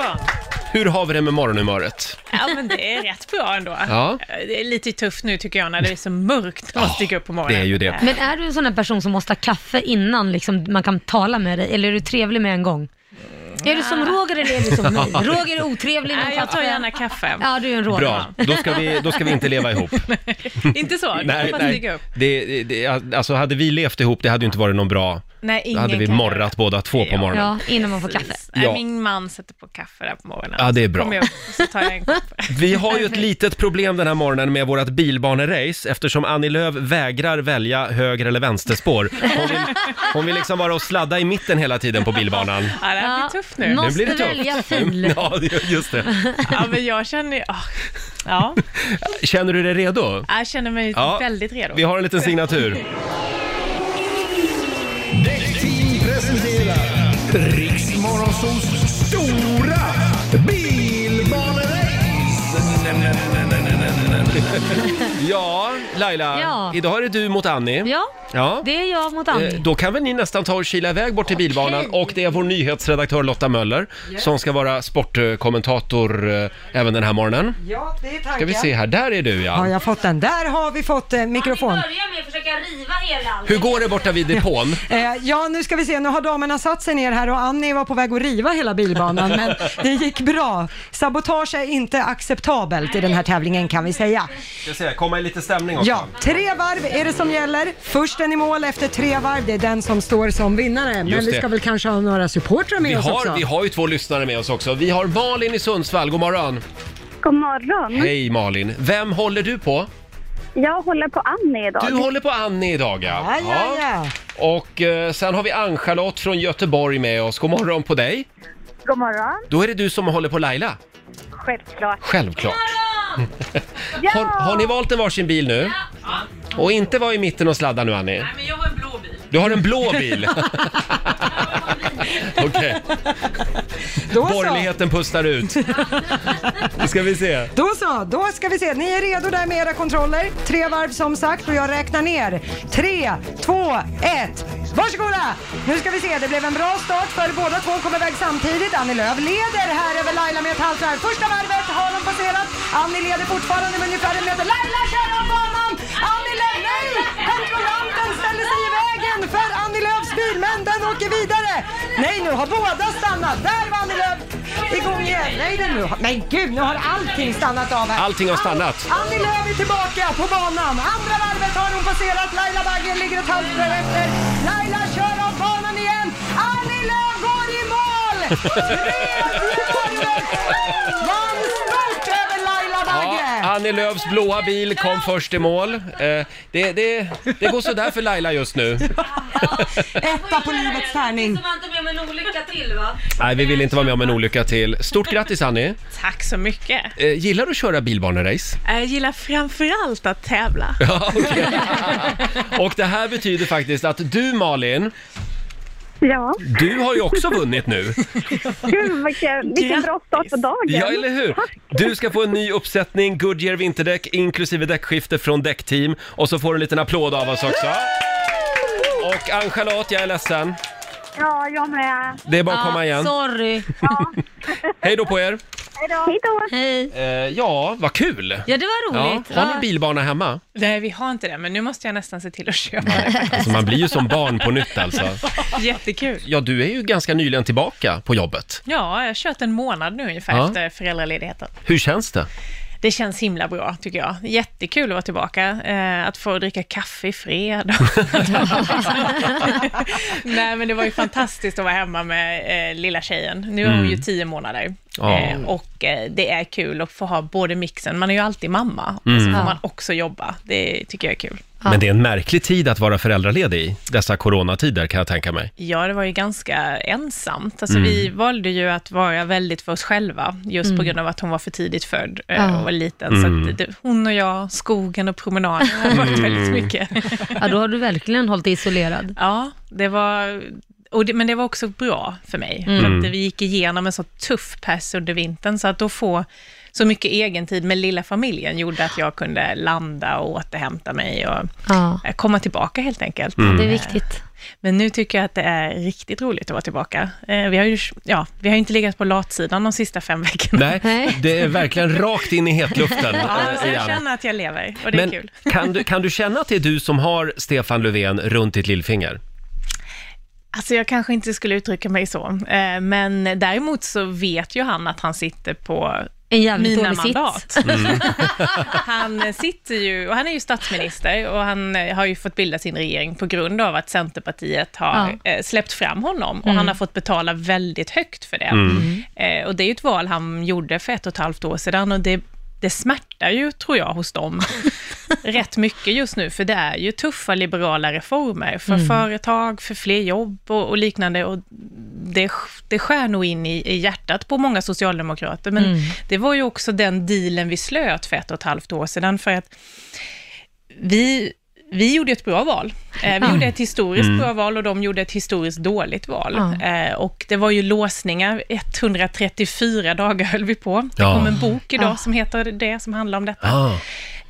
Hur har vi det med morgonhumöret? Ja, men det är rätt bra ändå. Ja. Det är lite tufft nu tycker jag när det är så mörkt när man stiger upp på morgonen. det är ju det. Men är du en sån här person som måste ha kaffe innan liksom, man kan tala med dig, eller är du trevlig med en gång? Är du som Roger eller är du som mig? Roger är otrevlig med Mm. Ah. Nej, jag tar gärna kaffe. Ja, du är en Roger. Bra, då ska vi, då ska vi inte leva ihop. Inte så, nej, man stiga upp. Det, det, alltså hade vi levt ihop, det hade ju inte varit någon bra... Nej, då ingen hade vi kan göra morrat båda två på morgonen. Ja, innan man får kaffe. Nej, Ja. Min man sätter på kaffe där på morgonen. Ja, det är bra. Så kommer jag upp och så tar jag en kopp. Vi har ju ett litet problem den här morgonen med vårt bilbanerace eftersom Annie Lööf vägrar välja höger eller vänsterspår. Hon vill, hon vill liksom vara och sladda i mitten hela tiden på bilbanan. Ja, det här blir tufft nu. Nu blir det tufft. Ja, det- just det. Ja, men jag känner ju... ah, Ja, Känner du dig redo? jag känner mig väldigt redo. Vi har en liten signatur. presenterar Riksmorgonsols stora bilbanerace. Ja, Laila. Ja. Idag är det du mot Annie. Ja, Ja. det är jag mot Annie. Eh, Då kan väl ni nästan ta och kila iväg bort till bilbanan och det är vår nyhetsredaktör Lotta Möller som ska vara sportkommentator eh, även den här morgonen. Ja, det är tanken. Ska vi se här, där är du Har ja. jag fått den? Där har vi fått eh, mikrofon. med att försöka riva hela Hur går det borta vid depån? Eh, ja, nu ska vi se. Nu har damerna satt sig ner här och Annie var på väg att riva hela bilbanan, men det gick bra. Sabotage är inte acceptabelt i den här tävlingen kan vi säga. Ska se, komma i lite stämning också. Ja, tre varv är det som gäller. Först en i mål efter tre varv. Det är den som står som vinnare. Men Just vi det. ska väl kanske ha några supportrar med Vi oss också. har, vi har ju två lyssnare med oss också. Vi har Malin i Sundsvall, god morgon. God morgon. Hej Malin. Vem håller du på? Jag håller på Annie idag. Du håller på Annie idag ja. Ja, ja, ja. Och eh, sen har vi Ann-Charlotte från Göteborg med oss. God morgon på dig. God morgon. Då är det du som håller på Laila. Självklart. Självklart. har, har ni valt en varsin bil nu? Och inte vara i mitten och sladda nu Annie. men jag har en blå bil. Du har en blå bil. Okej. Då så. Borgerligheten pustar ut. Nu ska vi se. Då så, då ska vi se. Ni är redo där med era kontroller. Tre varv som sagt och jag räknar ner. Tre, två, ett. Varsågoda! Nu ska vi se, det blev en bra start för båda två kom iväg samtidigt. Annie Lööf leder här över Laila med ett halvt varv. Första varvet har hon passerat. Annie leder fortfarande med ungefär en meter. Laila kör av banan! Annie Lööf, nej! Kontrollanten ställer sig i vägen för Annie Lööfs bil, men den åker vidare. Nej, nu har båda stannat. Där var Annie Lööf igång igen. Nej, den nu har... Men gud, nu har allting stannat av här. Allting har stannat. Annie Lööf är tillbaka på banan. Andra varvet har hon passerat. Laila Bagge ligger ett halvt varv efter. Laila kör av banan igen. Annie Lööf går i mål! Vann stort över Laila Bagge! Ja, Annie Lööfs blåa bil kom först i mål. Eh, det, det, det går sådär för Laila just nu. Etta på livets tärning. Som inte med om en olycka till va? Nej, vi vill inte vara med om en olycka till. Stort grattis Annie! Tack så mycket. Eh, gillar du att köra bilbanerace? Jag gillar framförallt att tävla. Ja, okej. Och det här betyder faktiskt att du Malin, Ja. du har ju också vunnit nu. Gud, vilken, vilken bra start på dagen. Ja, eller hur? Du ska få en ny uppsättning Goodyear vinterdäck inklusive däckskifte från Däckteam och så får du en liten applåd av oss också. Och Ann-Charlotte, jag är ledsen. Ja, jag med. Det är bara att komma igen. Sorry. Hej då på er! Hej då. Hej. Eh, ja, vad kul! Ja, det var roligt. Ja. Har Ja. ni bilbana hemma? Nej, vi har inte det, men nu måste jag nästan se till att köpa Alltså man blir ju som barn på nytt alltså. det. Jättekul. Ja, du är ju ganska nyligen tillbaka på jobbet. Ja, jag har kört en månad nu ungefär Ja. efter föräldraledigheten. Hur känns det? Det känns himla bra tycker jag. Jättekul att vara tillbaka. Eh, att få dricka kaffe i fred. Nej men det var ju fantastiskt att vara hemma med eh, lilla tjejen. Nu är hon Mm. ju tio månader. Ja. Eh, och eh, det är kul att få ha både mixen, man är ju alltid mamma, och så Mm. får Ja. man också jobba. Det tycker jag är kul. Men det är en märklig tid att vara föräldraledig i, dessa coronatider kan jag tänka mig. Ja, det var ju ganska ensamt. Alltså, Mm. Vi valde ju att vara väldigt för oss själva, just på Mm. grund av att hon var för tidigt född eh, Ja. och var liten. Så Mm. att det, hon och jag, skogen och promenaden har varit Mm. väldigt mycket. Ja, då har du verkligen hållit dig isolerad. Ja, det var... Och det, men det var också bra för mig, Mm. för att vi gick igenom en så tuff pass under vintern, så att då få så mycket egen tid med lilla familjen gjorde att jag kunde landa och återhämta mig och Ja. eh, komma tillbaka helt enkelt. Mm. Det är viktigt. Men nu tycker jag att det är riktigt roligt att vara tillbaka. Eh, Vi har ju ja, vi har ju inte legat på latsidan de sista fem veckorna. Nej, det är verkligen rakt in i hetluften ja, eh, så jag igen. känner att jag lever och det är Men kul. kan du, kan du känna att det är du som har Stefan Löfven runt ditt lillfinger? Alltså jag kanske inte skulle uttrycka mig så, eh, men däremot så vet ju han att han sitter på En jävligt mina dålig sits. Mm. mandat. Han eh, sitter ju, och han är ju statsminister och han eh, har ju fått bilda sin regering på grund av att Centerpartiet har eh, släppt fram honom och Mm. han har fått betala väldigt högt för det. Mm. Eh, och det är ju ett val han gjorde för ett och ett halvt år sedan och det, det smärtar ju, tror jag, hos dem rätt mycket just nu, för det är ju tuffa liberala reformer för Mm. företag, för fler jobb och, och liknande. Och det, det skär nog in i, i hjärtat på många socialdemokrater, men Mm. det var ju också den dealen vi slöt för ett och ett halvt år sedan, för att vi, vi gjorde ett bra val. Eh, vi Ja. gjorde ett historiskt Mm. bra val och de gjorde ett historiskt dåligt val. Ja. Eh, och det var ju låsningar, 134 dagar höll vi på. Det Ja. kom en bok idag Ja. som heter det, som handlar om detta Ah.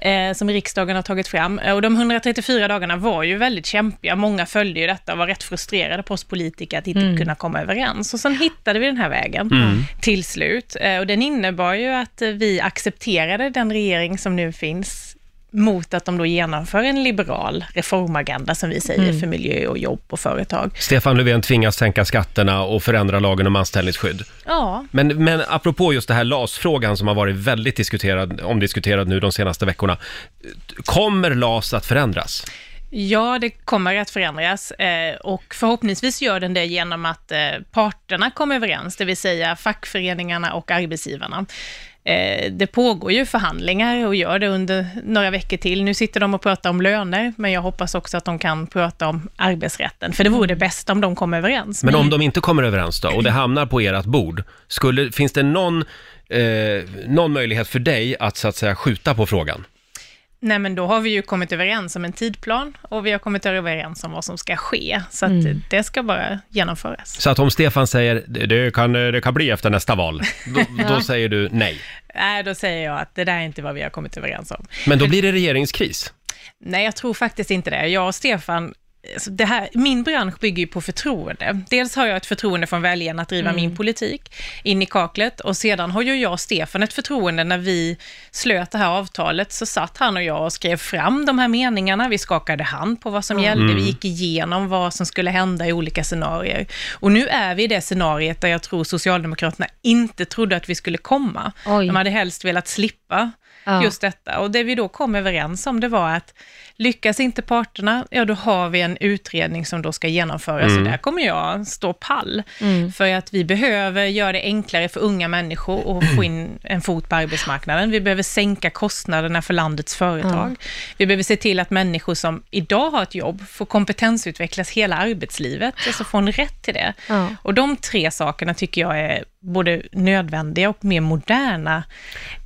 eh, som riksdagen har tagit fram. Eh, Och de 134 dagarna var ju väldigt kämpiga. Många följde ju detta och var rätt frustrerade på oss politiker att inte Mm. kunna komma överens. Och sen hittade vi den här vägen Mm. till slut. Eh, Och den innebar ju att eh, vi accepterade den regering som nu finns mot att de då genomför en liberal reformagenda, som vi säger, Mm. för miljö och jobb och företag. Stefan Löfven tvingas sänka skatterna och förändra lagen om anställningsskydd. Ja, Men, men apropå just det här LAS-frågan som har varit väldigt diskuterad, omdiskuterad nu de senaste veckorna. Kommer LAS att förändras? Ja, det kommer att förändras eh, och förhoppningsvis gör den det genom att eh, parterna kommer överens, det vill säga fackföreningarna och arbetsgivarna. Eh, Det pågår ju förhandlingar och gör det under några veckor till. Nu sitter de och pratar om löner, men jag hoppas också att de kan prata om arbetsrätten, för det vore det bästa Mm. om de kom överens. Men om de inte kommer överens då, och det hamnar på ert bord, skulle, finns det någon, eh, någon möjlighet för dig att så att säga skjuta på frågan? Nej, men då har vi ju kommit överens om en tidplan och vi har kommit överens om vad som ska ske, så att Mm. det ska bara genomföras. Så att om Stefan säger "Det- det kan, det kan bli efter nästa val, då, då Ja. säger du nej. Nej, då säger jag att det där är inte vad vi har kommit överens om. Men då blir det regeringskris. Nej, jag tror faktiskt inte det. Jag och Stefan, alltså det här, min bransch bygger ju på förtroende. Dels har jag ett förtroende från väljarna att driva Mm. min politik in i kaklet och sedan har ju jag och Stefan ett förtroende. När vi slöt det här avtalet så satt han och jag och skrev fram de här meningarna. Vi skakade hand på vad som Mm. gällde. Vi gick igenom vad som skulle hända i olika scenarier. Och nu är vi i det scenariet där jag tror Socialdemokraterna inte trodde att vi skulle komma. Oj. De hade helst velat slippa Ja. just detta. Och det vi då kom överens om, det var att lyckas inte parterna, ja då har vi en utredning som då ska genomföras. Mm. Och där kommer jag stå pall. Mm. För att vi behöver göra det enklare för unga människor att få in en fot på arbetsmarknaden. Vi behöver sänka kostnaderna för landets företag. Ja. Vi behöver se till att människor som idag har ett jobb får kompetensutvecklas hela arbetslivet, alltså får en rätt till det. Ja. Och de tre sakerna tycker jag är både nödvändiga och mer moderna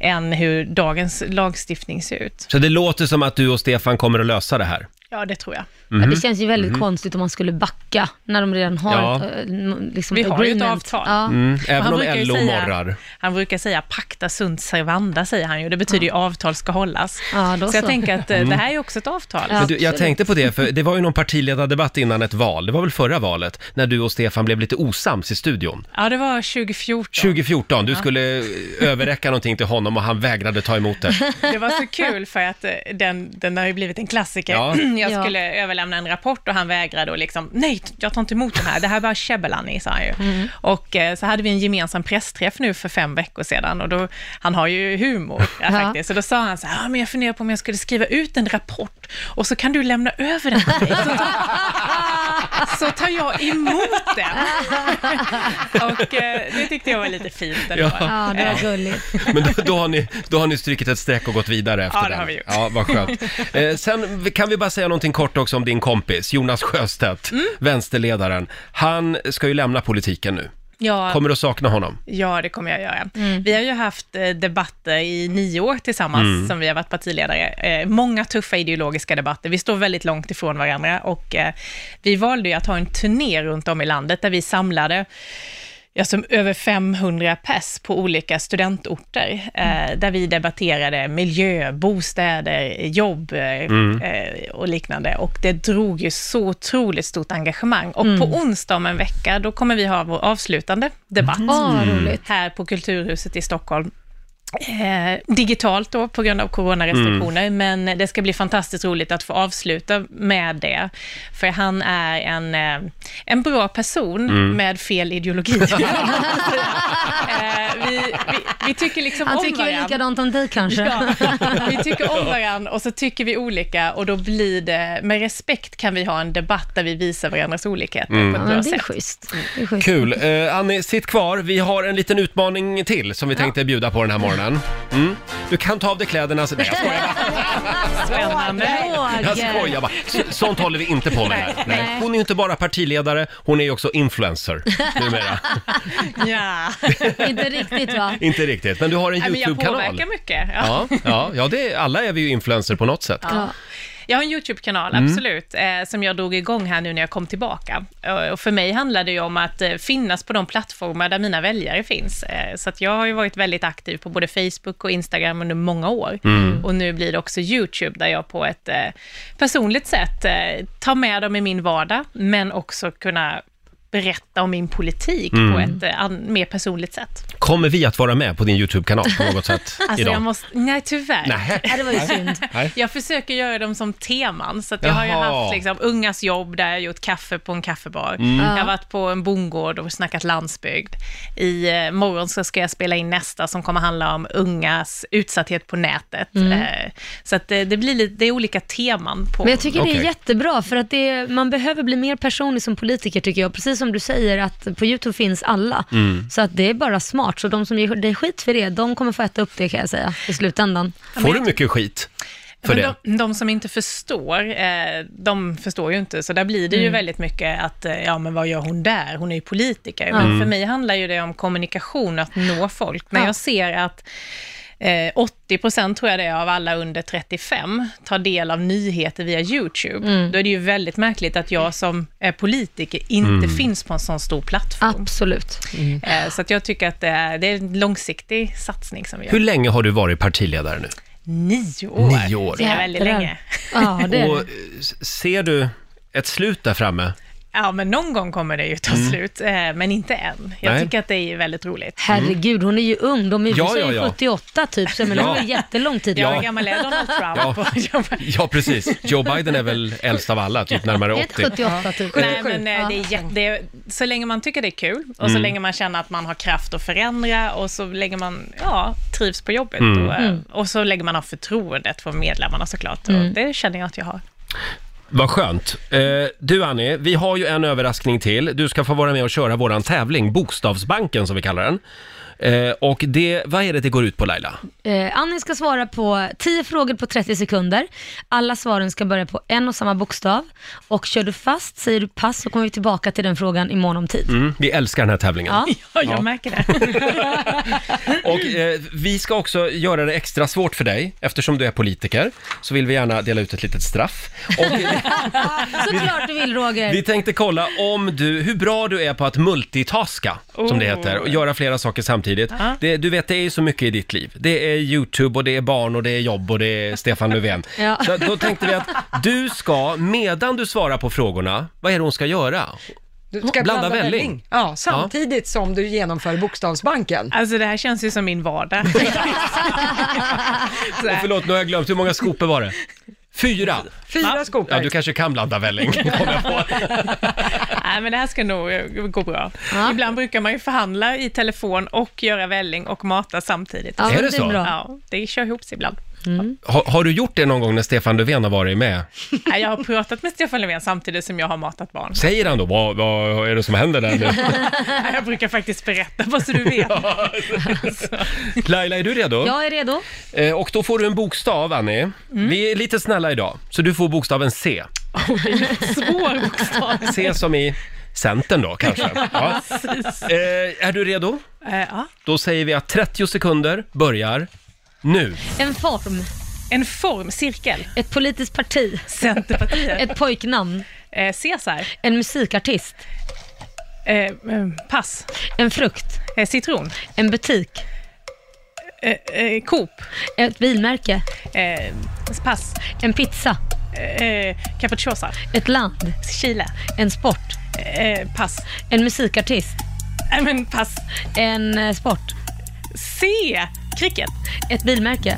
än hur dagens lagstiftning ser ut. Så det låter som att du och Stefan kommer att lösa det här. Ja, det tror jag. Ja, det känns ju väldigt Mhm. konstigt om man skulle backa när de redan har Ja. ett, eh, n- liksom Vi har ju ett agreement. avtal. Ja. Mm, även Han om brukar ju LO säga- morrar. Han brukar säga pacta sunt servanda, säger han ju. Det betyder ju avtal ska hållas. då så jag så. tänker att eh, Mm. det här är ju också ett avtal. Men du, jag tänkte på det, för det var ju någon partiledardebatt innan ett val, det var väl förra valet, när du och Stefan blev lite osams i studion. Ja, det var 2014. 2014, du Ja. skulle eh, överräcka någonting till honom och han vägrade ta emot det. Det var så kul för att eh, den, den har ju blivit en klassiker. Ja. Jag skulle överlämna en rapport och han vägrade och liksom, nej, jag tar inte emot den här, det här är bara käbbel Annie, sa han ju. Mm. Och eh, så hade vi en gemensam pressträff nu för fem veckor sedan och då, han har ju humor ja, Ja. faktiskt, så då sa han så här, ah, men jag funderar på om jag skulle skriva ut en rapport och så kan du lämna över den till mig. Så tar- Så tar jag emot den. Och eh, det tyckte jag var lite fint ändå. Ja. Ja, det var Eh, Gulligt. Men då, då, har ni, då har ni strykit ett streck och gått vidare efter Ja, det den. har vi gjort. Ja, vad skönt. Eh, sen kan vi bara säga någonting kort också om din kompis, Jonas Sjöstedt, Mm. vänsterledaren. Han ska ju lämna politiken nu. Ja. Kommer du att sakna honom? Ja, det kommer jag göra. Vi har ju haft eh, debatter i nio år tillsammans Mm. som vi har varit partiledare. Eh, många tuffa ideologiska debatter. Vi står väldigt långt ifrån varandra och eh, vi valde ju att ha en turné runt om i landet där vi samlade ja, som över 500 pers på olika studentorter, eh, där vi debatterade miljö, bostäder, jobb eh, Mm. eh, och liknande. Och det drog ju så otroligt stort engagemang. Och på onsdag om en vecka, då kommer vi ha vår avslutande debatt Åh, vad roligt. här på Kulturhuset i Stockholm. Eh, digitalt då, på grund av coronarestriktioner, men det ska bli fantastiskt roligt att få avsluta med det. För han är en, eh, en bra person Mm. med fel ideologi. Eh, vi, vi, vi tycker liksom Han om tycker väl varandra. likadant om dig kanske? Ja, vi tycker om varandra och så tycker vi olika och då blir det, med respekt kan vi ha en debatt där vi visar varandras olikheter Mm. på ett Ja, bra men det är sätt. schysst. Det är schysst. Kul. Eh, Annie, sitt kvar. Vi har en liten utmaning till som vi tänkte bjuda på den här morgonen. Mm. Du kan ta av dig kläderna. Så... Nej, jag skojar. Jag skojar bara. Så- Sånt håller vi inte på med här. Nej. Nej. Hon är ju inte bara partiledare, hon är ju också influencer numera. Ja. Inte riktigt va? inte riktigt, men du har en Nej, men jag YouTube-kanal. påverkar mycket. Ja, ja, ja det, alla är vi ju influencer på något sätt. Ja. Jag har en YouTube-kanal, Mm. absolut, eh, som jag drog igång här nu när jag kom tillbaka. Eh, Och för mig handlar det ju om att eh, finnas på de plattformar där mina väljare finns. Eh, så att jag har ju varit väldigt aktiv på både Facebook och Instagram under många år. Mm. Och nu blir det också YouTube, där jag på ett eh, personligt sätt eh, tar med dem i min vardag, men också kunna berätta om min politik Mm. på ett eh, an- mer personligt sätt. Kommer vi att vara med på din YouTube-kanal på något sätt Alltså idag? jag måste, nej tyvärr. Nej. Ja, det var ju synd. Nej. Jag försöker göra dem som teman, så att jag har ju Jaha. haft liksom, ungas jobb där jag har gjort kaffe på en kaffebar. Mm. Jag har varit på en bondgård och snackat landsbygd. I eh, morgon så ska jag spela in nästa som kommer handla om ungas utsatthet på nätet. Mm. Eh, så att det, det blir lite, det är olika teman på. Men jag tycker det är jättebra, för att det, är- man behöver bli mer personlig som politiker tycker jag. Precis som du säger att på YouTube finns alla. Mm. Så att det är bara smart. Så de som ger dig skit för det, de kommer få äta upp det kan jag säga i slutändan. Får du mycket skit för men det? De, de som inte förstår, eh, de förstår ju inte, så där blir det ju Mm. väldigt mycket att, eh, ja men vad gör hon där? Hon är ju politiker. Ja. Men Mm. för mig handlar ju det om kommunikation, att nå folk. Men jag ser att eh, 80 procent tror jag det är av alla under 35 tar del av nyheter via YouTube. Mm. Då är det ju väldigt märkligt att jag som är politiker inte Mm. finns på en sån stor plattform. Absolut. Eh, så att jag tycker att det är, det är en långsiktig satsning som vi gör. Hur länge har du varit partiledare nu? Nio år. Nio år. Det är väldigt Jädrar. länge. Och eh, s- ser du ett slut där framme? Ja, men någon gång kommer det ju ta Mm. slut, eh, men inte än. Jag Nej. tycker att det är väldigt roligt. Herregud, hon är ju ung. De är Ja, ja, ja, ja. 78 typ, så jag menar, Ja. det var ju jättelång tid. Ja. Hur gammal är Donald Ja. Trump? Ja, precis. Joe Biden är väl äldst av alla, typ närmare 80. typ. Nej, men eh, det är jätte, det är, så länge man tycker det är kul och så Mm. länge man känner att man har kraft att förändra och så länge man ja, trivs på jobbet Mm. och, eh, Mm. och så länge man har förtroendet för medlemmarna såklart. Och Mm. det känner jag att jag har. Vad skönt. Eh, du Annie, vi har ju en överraskning till. Du ska få vara med och köra våran tävling, Bokstavsbanken som vi kallar den. Eh, och det, vad är det det går ut på Laila? Eh, Annie ska svara på 10 frågor på 30 sekunder. Alla svaren ska börja på en och samma bokstav. Och kör du fast, säger du pass, så kommer vi tillbaka till den frågan imorgon om tid. Mm, vi älskar den här tävlingen. Ja. märker det. Och eh, vi ska också göra det extra svårt för dig, eftersom du är politiker, så vill vi gärna dela ut ett litet straff. Såklart du vill Roger. Vi tänkte kolla om du, hur bra du är på att multitaska, som det Oh. heter, och göra flera saker samtidigt. Ja. Det, du vet, det är ju så mycket i ditt liv. Det är YouTube och det är barn och det är jobb och det är Stefan Löfven. Ja. Så då tänkte vi att du ska, medan du svarar på frågorna, vad är det hon ska göra? Du ska blanda, välling. Ja, samtidigt som du genomför Bokstavsbanken. Alltså det här känns ju som min vardag. Och förlåt, nu har jag glömt, hur många skopor var det? Fyra! Fyra skopor. Ja, du kanske kan blanda välling. Nej, men det här ska nog eh, gå bra. Ibland brukar man ju förhandla i telefon och göra välling och mata samtidigt. Ja, Är men det det är så? bra. Ja, det kör ihop sig ibland. Har, har du gjort det någon gång när Stefan Löfven har varit med? Nej, jag har pratat med Stefan Löfven samtidigt som jag har matat barn. Säger han då, vad, vad är det som händer där nu? Nej, jag brukar faktiskt berätta, bara så du vet. Laila, är du redo? Jag är redo. Eh, Och då får du en bokstav, Annie. Vi är lite snälla idag, så du får bokstaven C. Svår bokstav. C som i Centern då, kanske. Ja. Precis. Eh, är du redo? Eh, ja. Då säger vi att 30 sekunder börjar nu. En form. En form, cirkel. Ett politiskt parti. Centerpartiet. Ett pojknamn. Eh, Cesar. En musikartist. Eh, pass. En frukt. Eh, citron. En butik. Eh, eh, Coop. Ett bilmärke. pass. En pizza. Eh, capricciosa. Ett land. Chile. Eh, En sport. pass. En musikartist. Nej, men pass. En eh, sport. C. Cricket. Ett bilmärke.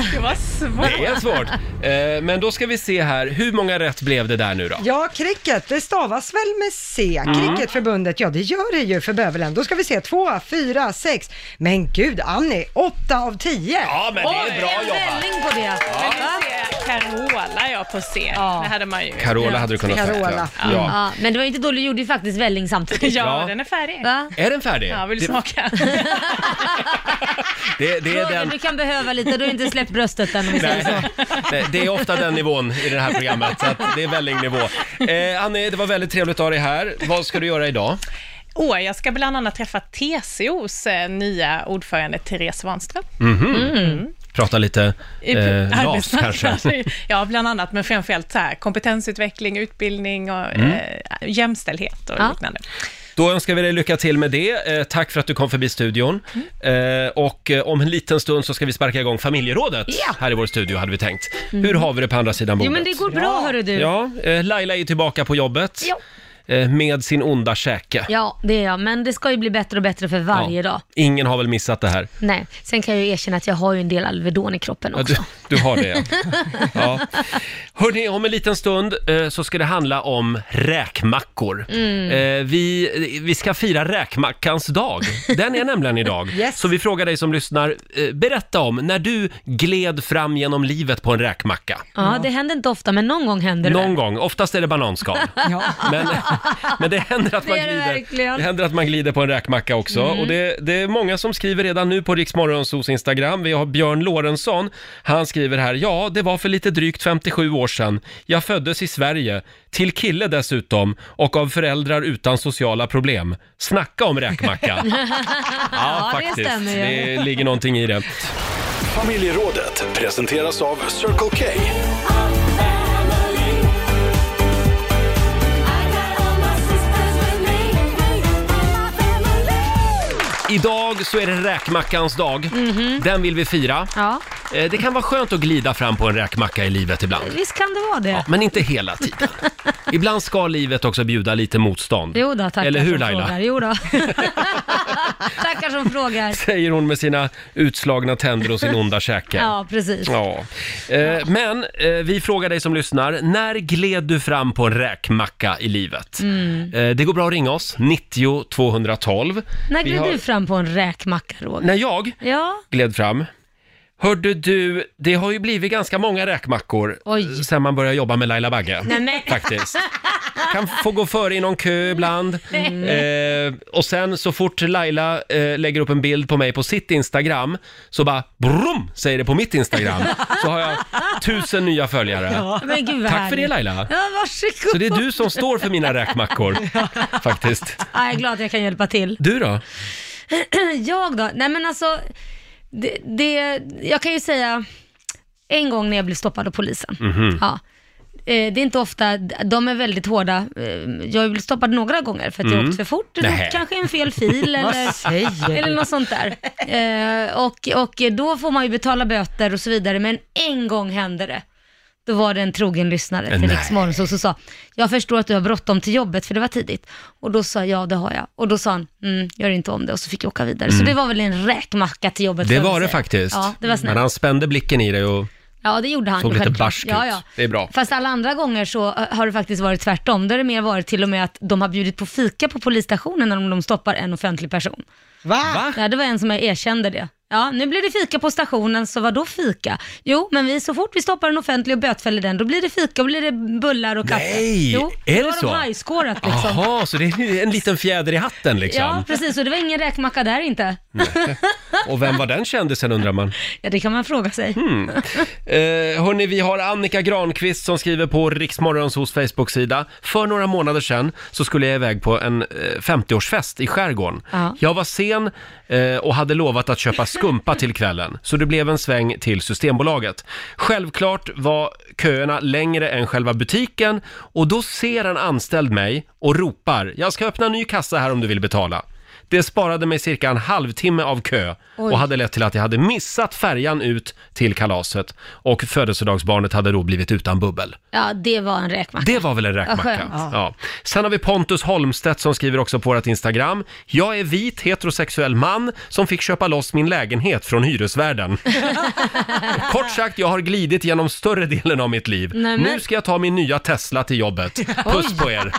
Svårt. Det var svårt. Det är svårt. Eh, Men då ska vi se här, hur många rätt blev det där nu då? Ja, cricket, det stavas väl med C? Mm. Cricketförbundet, ja det gör det ju för bövelen. Då ska vi se, två, fyra, sex. Men gud, Annie, åtta av tio! Ja, men det är Oj, bra en jobbat. välling på det. Men nu ser jag Carola jag på C. Det hade man ju. Carola hade du kunnat sagt, Carola. ja. Ja. Ja, men det var inte dåligt, du gjorde ju faktiskt välling samtidigt. Ja, Ja. den är färdig. Va? Är den färdig? Ja, vill du Det- smaka? Det, det är Roger, den... du kan behöva lite, du har inte släppt bröstet än om vi säger så. Nej, det är ofta den nivån i det här programmet, så att det är vällingnivå. Eh, Annie, det var väldigt trevligt att ha dig här. Vad ska du göra idag? Åh, jag ska bland annat träffa TCOs eh, nya ordförande Therese Warnström. Mhm. Mm. Prata lite eh, LAS kanske. Arbetsmarknad. ja, bland annat, men framförallt så här, kompetensutveckling, utbildning och Mm. eh, jämställdhet och Ja. liknande. Då önskar vi dig lycka till med det. Eh, tack för att du kom förbi studion. Eh, och eh, om en liten stund så ska vi sparka igång familjerådet Ja. Mm. här i vår studio, hade vi tänkt. Hur har vi det på andra sidan bordet? Jo men det går bra hörru du. Ja, eh, Laila är tillbaka på jobbet Ja. eh, med sin onda käke. Ja, det är jag, men det ska ju bli bättre och bättre för varje dag. Ingen har väl missat det här? Nej, sen kan jag ju erkänna att jag har ju en del Alvedon i kroppen Ja, också. du, du har det, ja. ja. Hörrni, om en liten stund eh, så ska det handla om räkmackor. Mm. Eh, vi, vi ska fira räkmackans dag. Den är nämligen idag. Så vi frågar dig som lyssnar, eh, berätta om när du gled fram genom livet på en räkmacka. Ja, det händer inte ofta, men någon gång händer det. Någon gång, oftast är det bananskal. Men, men det händer att Det man är det glider. verkligen. Det händer att man glider på en räkmacka också. Mm. Och det, det är många som skriver redan nu på Riksmorgonsos Instagram. Vi har Björn Lorentzon. Han skriver här, ja, det var för lite drygt 57 år sedan. Jag föddes i Sverige, till kille dessutom, och av föräldrar utan sociala problem. Snacka om räkmacka. ja, det stämmer ju. Det ligger någonting i det. Familjerådet presenteras av Circle K. Idag så är det räkmackans dag. Mhm. Den vill vi fira. Ja, Eh, Det kan vara skönt att glida fram på en räkmacka i livet ibland. visst kan det vara det. Ja, men inte hela tiden. Ibland ska livet också bjuda lite motstånd. Jo då, tackar Eller hur som Laila? frågar. Jo då. tackar som frågar. Säger hon med sina utslagna tänder och sin onda käke. Ja, precis. Ja. Eh, men eh, vi frågar dig som lyssnar, när gled du fram på en räkmacka i livet? Mm. Eh, det går bra att ringa oss, 90 212. När Vi gled har- du fram på en räkmacka Roger? När jag Ja, gled fram? Hörde du, det har ju blivit ganska många räkmackor Oj. sen man började jobba med Laila Bagge. Nej, men- Faktiskt. Kan få gå före i någon kö ibland. Mm. Eh, och sen så fort Laila eh, lägger upp en bild på mig på sitt Instagram så bara brum, säger det på mitt Instagram. Så har jag tusen nya följare. Ja, men gud vad Tack för det härligt. Laila. Ja, varsågod. Så det är du som står för mina räkmackor faktiskt. Ja, jag är glad att jag kan hjälpa till. Du då? jag då? Nej men alltså, det, det, jag kan ju säga en gång när jag blev stoppad av polisen. Mhm. Ja. Eh, Det är inte ofta, de är väldigt hårda. Eh, Jag har blivit stoppad några gånger för att jag Mm. åkt för fort, eller Nähä. åkt kanske en fel fil Vad eller, säger du? eller något sånt där. Eh, Och, och då får man ju betala böter och så vidare, men en gång hände det. Då var det en trogen lyssnare till Nej. Rix Morgonzoo som sa, jag förstår att du har bråttom till jobbet för det var tidigt. Och då sa jag, ja det har jag. Och då sa han, mm, gör inte om det och så fick jag åka vidare. Så Mm. det var väl en räkmacka till jobbet. får Det jag väl var det säga. faktiskt. Ja, det var Men snällt. han spände blicken i dig och Ja, det gjorde han. såg lite självklart. barsk ut. ja, ja. Det är bra. Fast alla andra gånger så eh, har det faktiskt varit tvärtom. Då har det mer varit till och med att de har bjudit på fika på polisstationen när de- de stoppar en offentlig person. Va? Ja, det var en som jag erkände det. Ja, nu blir det fika på stationen, så vad då fika? Jo, men vi, så fort vi stoppar en offentlig och bötfäller den, då blir det fika, då blir det bullar och kaffe. Nej, jo, är då det har så? de highscorat liksom. Jaha, så det är en liten fjäder i hatten liksom. Ja, precis. Och det var ingen räkmacka där inte. Och vem var den kändisen undrar man? Ja, det kan man fråga sig. Hmm. Eh, hörni, vi har Annika Granqvist som skriver på Riksmorgonsos Facebook-sida. För några månader sedan så skulle jag iväg på en eh, 50-årsfest i skärgården. Ja. Jag var sen eh, och hade lovat att köpa skumpa till kvällen, så det blev en sväng till Systembolaget. Självklart var köerna längre än själva butiken och då ser en anställd mig och ropar “Jag ska öppna en ny kassa här om du vill betala”. Det sparade mig cirka en halvtimme av kö Oj. och hade lett till att jag hade missat färjan ut till kalaset och födelsedagsbarnet hade då blivit utan bubbel. Ja, det var en räkmacka. Det var väl en räkmacka? Ja, skönt. Ja. Sen har vi Pontus Holmstedt som skriver också på vårt Instagram. Jag är vit heterosexuell man som fick köpa loss min lägenhet från hyresvärden. Kort sagt, jag har glidit genom större delen av mitt liv. Nej, men- Nu ska jag ta min nya Tesla till jobbet. Puss Oj. på er!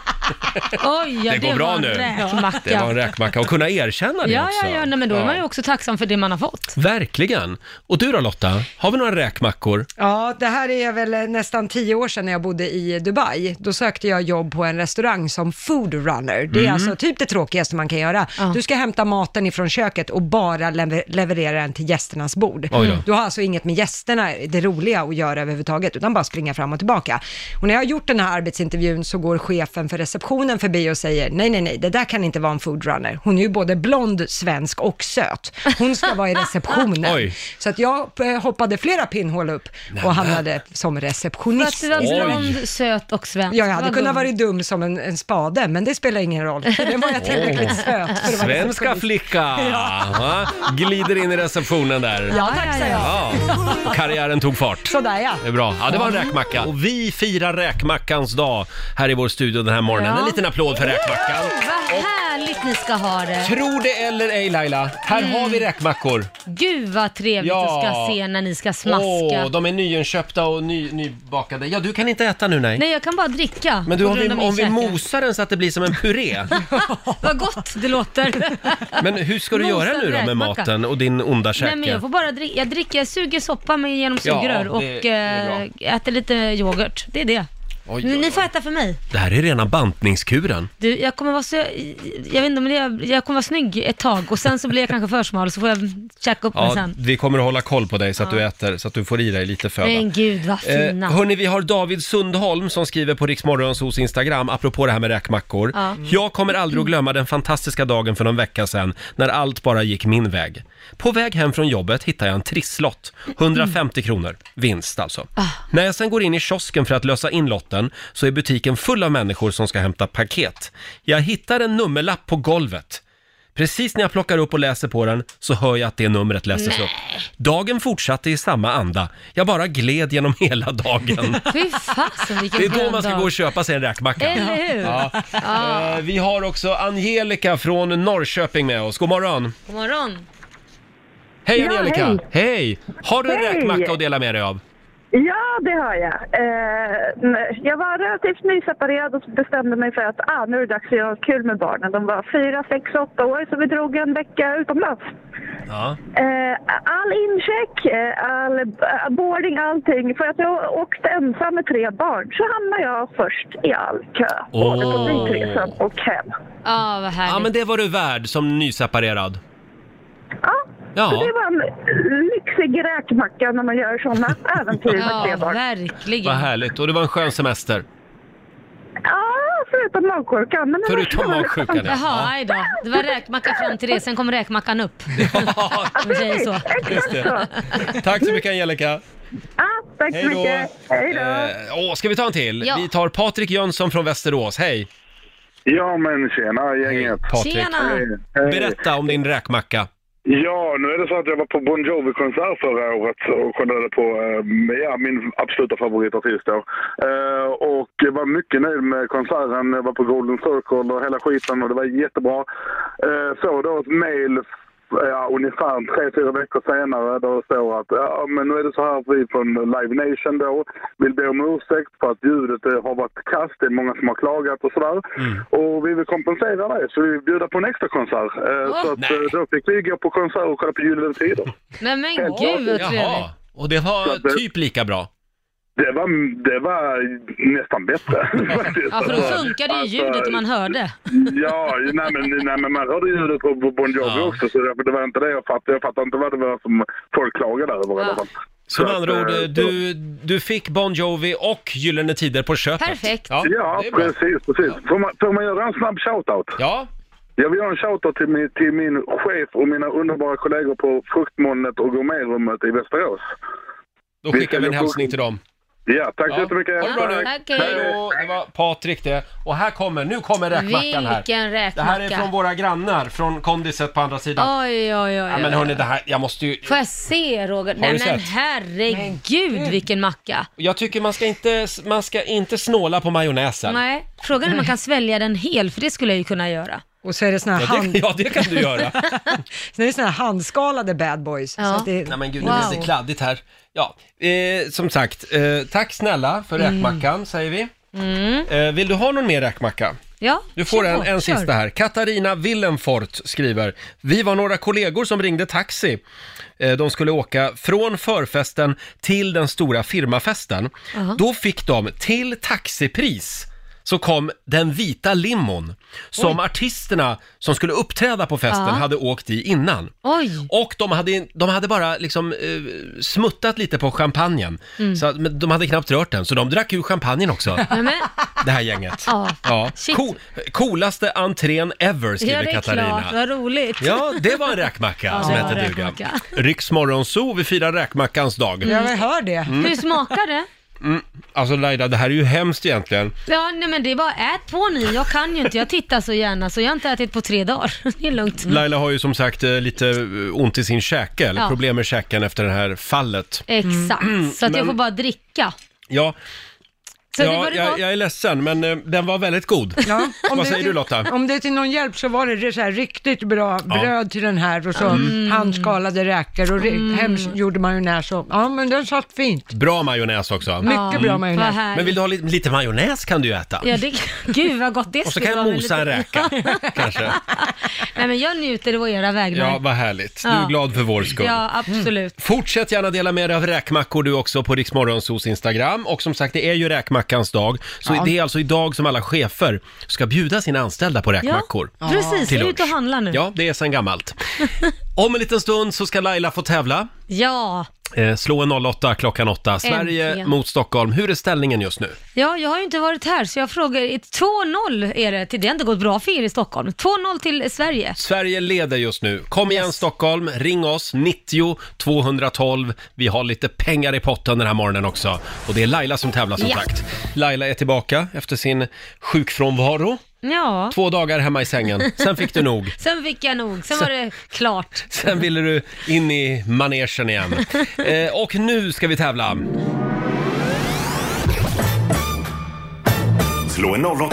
Oj, ja, det går bra var en nu. Räkmacka. Det var en räkmacka. Och kunna erkänna det Ja, också. ja, ja, nej, men då är Ja. man ju också tacksam för det man har fått. Verkligen. Och du då Lotta, har vi några räkmackor? Ja, det här är väl eh, nästan tio år sedan när jag bodde i Dubai. Då sökte jag jobb på en restaurang som food runner. Det är Mm. alltså typ det tråkigaste man kan göra. Du ska hämta maten ifrån köket och bara lever- leverera den till gästernas bord. Oj då. Du har alltså inget med gästerna, det roliga att göra överhuvudtaget, utan bara springa fram och tillbaka. Och när jag har gjort den här arbetsintervjun så går chefen för receptionen förbi och säger nej, nej, nej, det där kan inte vara en food runner. Hon är ju både blond, svensk och söt. Hon ska vara i Ah, receptionen. Oj. Så att jag eh, hoppade flera pinnhål upp och hamnade som För receptionist. att du var blond, söt och svensk. Ja, jag hade Vad kunnat gulligt. varit dum som en, en spade, men det spelar ingen roll. För det var jag tillräckligt Åh. söt för att vara Svenska receptionist. flicka! Va? Glider in i receptionen där. Ja, tack, säger jag. Ja. Karriären tog fart. Sådär ja. Det är bra. Ja, det var en räkmacka. Och vi firar räkmackans dag här i vår studio den här morgonen. Ja. En liten applåd för räkmackan. Vad härligt ni ska ha det. Tro det eller ej Laila, här Mm. har vi räkmackor. Gud vad trevligt Ja. att ska se när ni ska Åh, smaska. de är nyinköpta och ny, nybakade. Ja, du kan inte äta nu nej. Nej, jag kan bara dricka. Men du, på om vi, grund av min om vi käke. mosar den så att det blir som en puré. Vad gott det låter. Men hur ska du Mosad göra nu då med räkmacka. maten och din onda käke? Nej, men jag får bara dricka. Jag dricker, jag suger soppa med genom Ja, sugrör det- och det är eh, äter lite yoghurt. Det är det. Oj, ni oj, får äta för mig. Det här är rena bantningskuren. Du, jag kommer vara så, jag vet inte, men jag, jag kommer vara snygg ett tag och sen så blir jag kanske för smal så får jag checka upp mig Ja, sen. vi kommer att hålla koll på dig så att Ja. du äter, så att du får i dig lite föda. Men gud vad fina. Eh, hörni, vi har David Sundholm som skriver på Riksmorgonsos Instagram, apropå det här med räkmackor. Mm. Ja. Jag kommer aldrig att glömma den fantastiska dagen för någon vecka sedan, när allt bara gick min väg. På väg hem från jobbet hittar jag en trisslott, 150 kronor, vinst alltså. När jag sen går in i kiosken för att lösa in lotten, så är butiken full av människor som ska hämta paket. Jag hittar en nummerlapp på golvet. Precis när jag plockar upp och läser på den så hör jag att det numret läses Nej. upp. Dagen fortsatte i samma anda. Jag bara gled genom hela dagen. Fy fasen vilken Det är då skön man ska dag. gå och köpa sig en räkmacka. Eller hur? Ja. Eh, Vi har också Angelica från Norrköping med oss. God morgon! God morgon. Hej Ja, Angelica! Hej! Har du en Hej. räkmacka att dela med dig av? Ja, det har jag. Eh, nej, jag var relativt nyseparerad och bestämde mig för att ah, nu är det dags att göra kul med barnen. De var fyra, sex, åtta år så vi drog en vecka utomlands. Ja. Eh, all incheck, eh, all eh, boarding, allting. För att jag åkte ensam med tre barn så hamnade jag först i all kö. Både på Åh. flygresan och hem. Ja, vad härligt. Ja, men det var du värd som nyseparerad. Ja. Så det var en lyxig räkmacka när man gör sådana äventyr med tre barn. verkligen. Vad härligt. Och det var en skön semester. Ja, förutom magkorkan. Men Förutom magsjukan, ja. Jaha, aj då. Det var räkmacka fram till det, sen kom räkmackan upp. Ja, Om vi säger så. Just det. Tack så mycket Angelica. Tack Hej då. Eh, åh, ska vi ta en till? Ja. Vi tar Patrik Jönsson från Västerås. Hej! Ja men tjena gänget. Patrik. Tjena. Hej, hej. Berätta om din räkmacka. Ja, nu är det så att jag var på Bon Jovi-konsert förra året och kollade på eh, ja, min absoluta favoritartist då. Eh, och jag var mycket nöjd med konserten. Jag var på Golden Circle och hela skiten och det var jättebra. Eh, så då ett mejl ja, ungefär tre, fyra veckor senare då det står att ja, men nu är det så här att vi från Live Nation då vill be om ursäkt för att ljudet eh, har varit kasst. Det är många som har klagat och sådär. Mm. Och vi vill kompensera det så vi vill bjuda på en extra konsert. Eh, Åh. så att, eh, då fick vi gå på konsert och kolla på Gyllene Tider. Men, men gud vad trevligt. Jaha, och det var typ lika bra. Det var, det var nästan bättre. Ja, för då funkade ju Alltså, ljudet och man hörde. Ja, nej men, nej, men man hörde ljudet på på Bon Jovi också så det, det var inte det jag fattade. Jag fattade inte vad det var som folk klagade över i alla fall. Så med att, andra ord, eh, du, du fick Bon Jovi och Gyllene Tider på köpet. Perfekt. Ja, Ja, det är bra. precis, precis. Får, man, får man göra en snabb shoutout? Ja. Jag vill göra en shoutout till min, till min chef och mina underbara kollegor på Fruktmånet och Gourmetrummet i Västerås. Då skickar vi en säljer hälsning frukt- till dem. Ja, tack så jättemycket. Ha det bra nu. Tack, hej. hej då. Det var Patrik det. Och här kommer, nu kommer räkmackan här. Vilken Det här är räkmacka. från våra grannar, från kondiset på andra sidan. Oj, oj, oj. Ja, oj. men hörni, det här, jag måste ju... Får jag se Roger? Har Nej du men sett? herregud vilken macka. Jag tycker man ska inte, man ska inte snåla på majonnäsen. Nej, frågan är om man kan svälja den hel, för det skulle jag ju kunna göra. Och så är det såna här, Ja, hand, det, ja, det kan du göra. så är det såna här handskalade bad boys. Så att det, Nej men gud, det blir så kladdigt här. Ja, eh, som sagt, eh, tack snälla för Mm. räkmackan, säger vi. Mm. Eh, vill du ha någon mer räkmacka? Ja, Du får kör en, på, en kör. sista här. Katarina Willenfort skriver. Vi var några kollegor som ringde taxi. Eh, De skulle åka från förfesten till den stora firmafesten. Jaha. Då fick de till taxipris så kom den vita limon som Oj. artisterna som skulle uppträda på festen Ja. hade åkt i innan. Och de hade, de hade bara liksom eh, smuttat lite på champagnen. Mm. Så att, men de hade knappt rört den, så de drack ur champagnen också. Nej, men, Det här gänget. Ja. Ja. Ah, Shit. Co coolaste entrén ever, ja skriver det är Katarina. klart, vad roligt. Ja, det var en räkmacka Ja, som det var hette en duga. räkmacka. Riks Morgonzoo, vi firar räkmackans dag. Mm. Ja, men hör det. Hur smakar det? Mm. Alltså Laila, det här är ju hemskt egentligen. Ja, nej men det är bara ät på ni. Jag kan ju inte, jag tittar så gärna så jag har inte ätit på tre dagar. Det är lugnt. Laila har ju som sagt eh, lite eh, ont i sin käke, eller Ja. problem med käken efter det här fallet. Exakt, så att jag Mm. Men- får bara dricka. Ja, Så det ja var det jag, gott. jag är ledsen, men eh, den var väldigt god. Ja, Vad det är säger till, du Lotta? Om det är till någon hjälp så var det så här riktigt bra Ja. bröd till den här och så Mm. handskalade räkor och mm. hemgjord majonnäs och ja men den satt fint. Bra majonnäs också. Mycket Ja, Mm. bra majonnäs. vad härligt. Men vill du ha lite, lite majonnäs kan du ju äta. Ja, det, gud vad gott det Och så skulle kan jag vara med mosa en lite- räka, kanske. Nej men jag njuter å era vägnar. Ja, vad härligt. Du Ja. är glad för vår skull. Ja, absolut. Fortsätt gärna dela med dig av räkmackor du också på Riksmorgonsos Instagram. Och som sagt, det är ju räkmackans dag. Så Ja. det är alltså idag som alla chefer ska bjuda sina anställda på räkmackor. Ja, precis. Till Ut och lunch. handla nu. Ja, det är sedan gammalt. Om en liten stund så ska Laila få tävla. Ja. Eh, slå en 08 klockan 8. Sverige Äntligen. mot Stockholm. Hur är ställningen just nu? Ja, jag har ju inte varit här så jag frågar, 2-0 är det, till- det har inte gått bra för er i Stockholm. 2-0 till Sverige. Sverige leder just nu. Kom igen Stockholm, ring oss, 90 212. Vi har lite pengar i potten den här morgonen också. Och det är Laila som tävlar som Ja. sagt. Laila är tillbaka efter sin sjukfrånvaro. Ja. Två dagar hemma i sängen, sen fick du nog. Sen fick jag nog, sen var det klart. Sen ville du in i manegen igen. Eh, och nu ska vi tävla. Slå en 08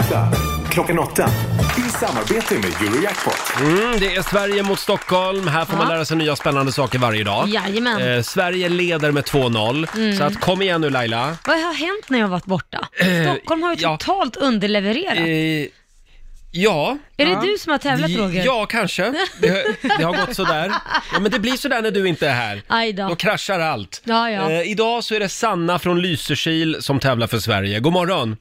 klockan 8 i samarbete med Eurojackpot. Mm, det är Sverige mot Stockholm. Här får man Ja. lära sig nya spännande saker varje dag. Jajamän. Eh, Sverige leder med 2-0. Mm. Så att, kom igen nu Laila. Vad har hänt när jag varit borta? Eh, Stockholm har ju ja. totalt underlevererat. Eh, Ja. Är det du som har tävlat Roger? Ja, kanske. Det, har- det har gått sådär. Ja, men det blir sådär när du inte är här. Aj då. Då kraschar allt. Ja, ja. Eh, idag så är det Sanna från Lysekil som tävlar för Sverige. God morgon!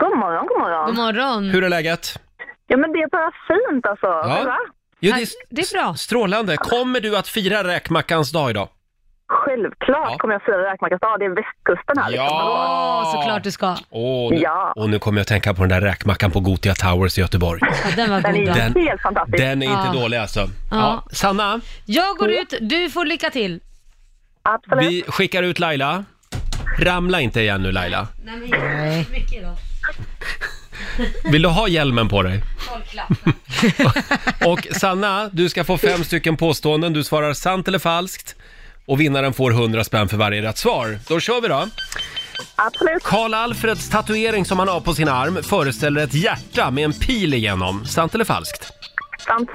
God morgon, god morgon. God morgon. Hur är läget? Ja, men det är bara fint alltså. Själva? Jo, det, är, det är bra. Strålande. Kommer du att fira räkmackans dag idag? Självklart kommer jag fira räkmackas dag. Det är västkusten här. Liksom. Ja, såklart du ska. Åh, nu, Ja. Och nu kommer jag att tänka på den där räkmackan på Gotia Towers i Göteborg. Ja, den var god. då. Den- Helt fantastiskt. Den är inte Ja. dålig alltså. Ja. Sanna? Jag går ut, du får lycka till. Absolut. Vi skickar ut Laila. Ramla inte igen nu Laila. Nej, men jag har gjort så mycket idag. Vill du ha hjälmen på dig? Håll klapp. Och Sanna, du ska få fem stycken påståenden. Du svarar sant eller falskt. Och vinnaren får 100 spänn för varje rätt svar. Då kör vi då. Absolut. Karl Alfreds tatuering som han har på sin arm föreställer ett hjärta med en pil igenom. Sant eller falskt? Sant.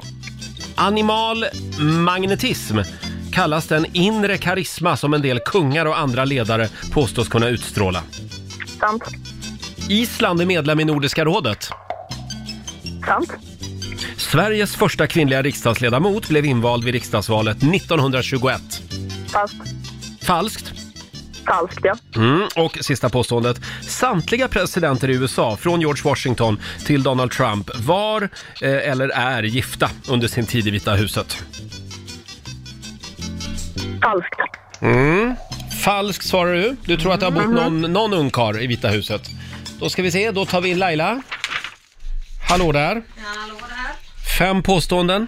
Animal magnetism kallas den inre karisma som en del kungar och andra ledare påstås kunna utstråla. Sant. Island är medlem i Nordiska rådet. Sant. Sveriges första kvinnliga riksdagsledamot blev invald vid riksdagsvalet 1921. Falskt. Falskt. Falskt, ja. Mm, och sista påståendet. Samtliga presidenter i USA, från George Washington till Donald Trump, var eh, eller är gifta under sin tid i Vita huset. Falskt. Mm. Falskt svarar du. Du tror att det har bott någon, någon ungkarl i Vita huset. Då ska vi se, då tar vi in Laila. Hallå där. Fem påståenden.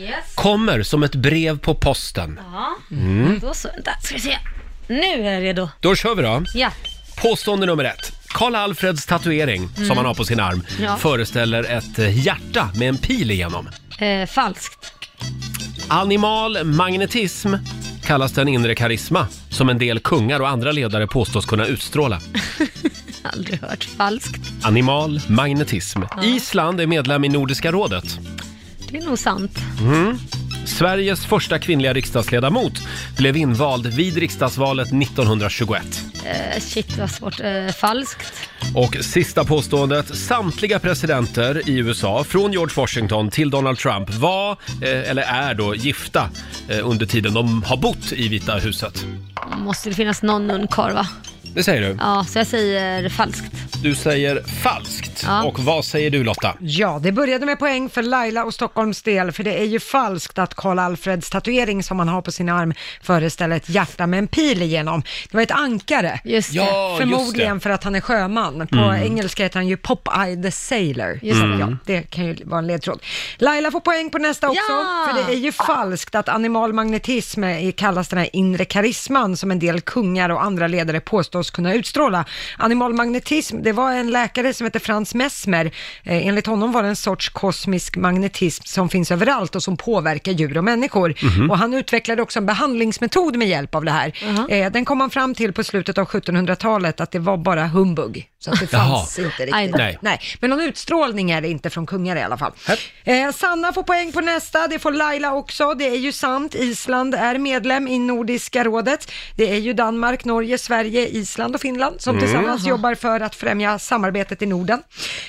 Yes. Kommer som ett brev på posten. Ja, Mm. då så. Vänta, ska vi se. Nu är jag redo. Då kör vi då. Ja. Påstående nummer ett. Karl Alfreds tatuering Mm. som han har på sin arm Ja. föreställer ett eh, hjärta med en pil igenom. Eh, falskt. Animal magnetism kallas den inre karisma som en del kungar och andra ledare påstås kunna utstråla. Aldrig hört. Falskt. Animal magnetism. Island är medlem i Nordiska rådet. Det är nog sant. Mm. Sveriges första kvinnliga riksdagsledamot blev invald vid riksdagsvalet 1921. Eh, shit, vad svårt. Eh, falskt. Och sista påståendet. Samtliga presidenter i USA, från George Washington till Donald Trump, var eh, eller är då gifta eh, under tiden de har bott i Vita huset. Måste det finnas någon nunnkarl, va? Det säger du. Ja, så jag säger falskt. Du säger falskt. Ja. Och vad säger du Lotta? Ja, det började med poäng för Laila och Stockholms del, för det är ju falskt att Karl Alfreds tatuering som han har på sin arm föreställer ett hjärta med en pil igenom. Det var ett ankare. Just det. Ja, just det. Förmodligen för att han är sjöman. På Mm. engelska heter han ju Popeye the Sailor. Just Så det. Ja, det kan ju vara en ledtråd. Laila får poäng på nästa också, Ja! för det är ju falskt att animal magnetism är- kallas den här inre karisman som en del kungar och andra ledare påstås kunna utstråla. Animal magnetism, det var en läkare som hette Frans Messmer. Eh, enligt honom var det en sorts kosmisk magnetism som finns överallt och som påverkar djur och människor. Mhm. Och han utvecklade också en behandlingsmetod med hjälp av det här. Eh, den kom han fram till på slutet av 1700-talet att det var bara humbug. Så att det Jaha. fanns inte Aj riktigt. då. Nej. Nej, men någon utstrålning är det inte från kungar i alla fall. Eh, Sanna får poäng på nästa, det får Laila också. Det är ju sant, Island är medlem i Nordiska rådet. Det är ju Danmark, Norge, Sverige, Island och Finland som Mm. tillsammans Jaha. jobbar för att främja samarbetet i Norden.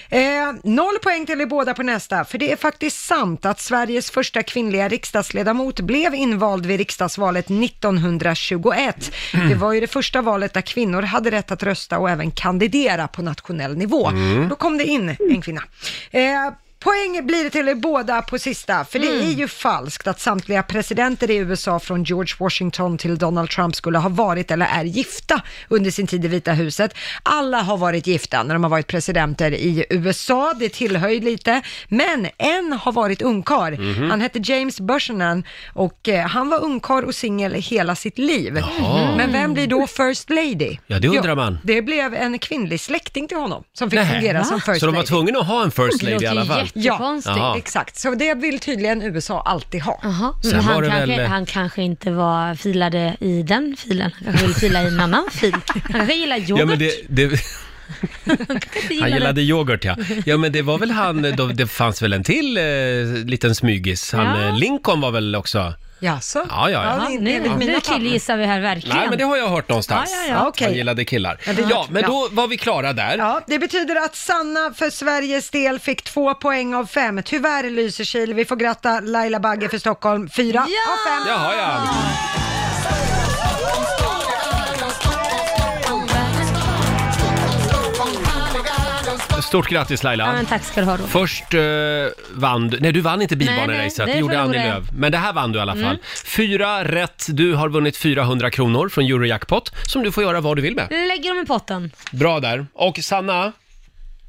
Eh, noll poäng till er båda på nästa, för det är faktiskt sant att Sveriges första kvinnliga riksdagsledamot blev invald vid riksdagsvalet 1921. Mm. Det var ju det första valet där kvinnor hade rätt att rösta och även kandidera på nationell nivå. Mm. Då kom det in en kvinna. Eh, Poäng blir det till er båda på sista, för det är ju falskt att samtliga presidenter i USA från George Washington till Donald Trump skulle ha varit eller är gifta under sin tid i Vita huset. Alla har varit gifta när de har varit presidenter i USA, det tillhör ju lite, men en har varit ungkarl. Mhm. Han hette James Buchanan och eh, han var ungkarl och singel hela sitt liv. Jaha. Men vem blir då First Lady? Ja, det undrar man. Det blev en kvinnlig släkting till honom som fick Nähä. fungera som First Så de var Lady. tvungna att ha en first Det lady i låter alla ju fall? jättekonstigt. Jaha. Ja, exakt. Så det vill tydligen USA alltid ha. Sen Men var han, det kanske, väl- han kanske inte var filade i den filen. Han kanske vill fila i en annan fil. Han kanske gillar yoghurt. Ja, men det, det, Han gillade yoghurt ja. Ja men det var väl han, då, det fanns väl en till eh, liten smygis. Han Ja. eh, Lincoln var väl också? Jaså? Ja, ja, ja. Ja, Ja, nu, enligt mina nu killgissar vi här verkligen. Nej men det har jag hört någonstans. Ja, ja, ja, okej. Han gillade killar. Ja, det- Ja men ja. då var vi klara där. Ja, det betyder att Sanna för Sveriges del fick två poäng av fem. Tyvärr Lysekil, vi får gratta Laila Bagge för Stockholm, fyra av fem. Jaha ja. Stort grattis Laila. Ja, men tack ska du ha Roger. Först eh, vann du, nej du vann inte Nej, bilbaneracet, nej, det det gjorde Annie förlorade Lööf. jag. Men det här vann du i alla fall. Mm. Fyra rätt, du har vunnit 400 kronor från Eurojackpot som du får göra vad du vill med. Lägger dem i potten. Bra där. Och Sanna,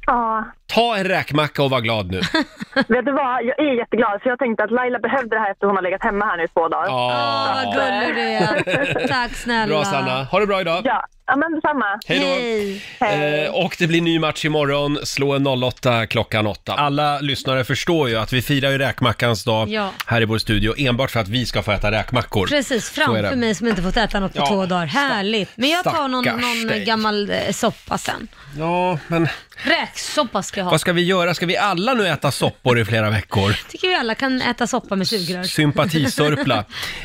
Ja, ta en räkmacka och var glad nu. vet du vad? Jag är jätteglad för jag tänkte att Laila behövde det här efter hon har legat hemma här nu i två dagar. Ja. Vad gullig du är. Tack snälla. Bra Sanna, ha det bra idag. Ja, ja men detsamma. Hej då. Eh, och det blir ny match imorgon, slå en 08 klockan 8. Alla lyssnare förstår ju att vi firar ju räkmackans dag Ja. här i vår studio enbart för att vi ska få äta räkmackor. Precis, Så är det. framför mig som inte fått äta något på Ja, två dagar. Härligt. Men jag tar någon, stackars någon dig. gammal eh, soppa sen. Ja, men Räksoppa ska jag ha. vad ska vi göra? Ska vi alla nu äta soppor i flera veckor? tycker vi alla kan äta soppa med sugrör. Sympatisörpla.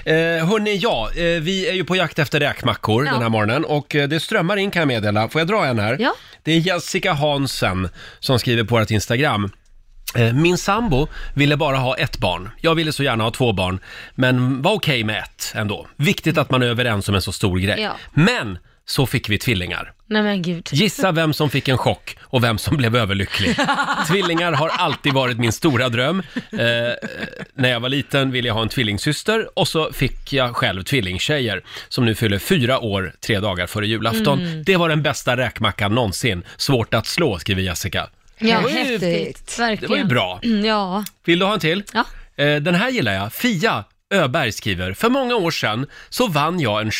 Eh, hörni, ja, eh, vi är ju på jakt efter räkmackor Ja. den här morgonen och eh, det strömmar in kan jag meddela. Får jag dra en här? Ja. Det är Jessica Hansen som skriver på vårt Instagram. Eh, Min sambo ville bara ha ett barn. Jag ville så gärna ha två barn, men var okej med ett ändå. Viktigt att man är överens om en så stor grej. Ja. Men så fick vi tvillingar. Nej men gud. Gissa vem som fick en chock och vem som blev överlycklig. Tvillingar har alltid varit min stora dröm. Eh, när jag var liten ville jag ha en tvillingsyster och så fick jag själv tvillingtjejer som nu fyller fyra år tre dagar före julafton. Mm. Det var den bästa räkmackan någonsin. Svårt att slå, skriver Jessica. Ja, det, var ju, häftigt. Verkligen. det var ju bra. Mm, Ja. Vill du ha en till? Ja. Eh, den här gillar jag. Fia Öberg skriver, för många år sedan så vann jag en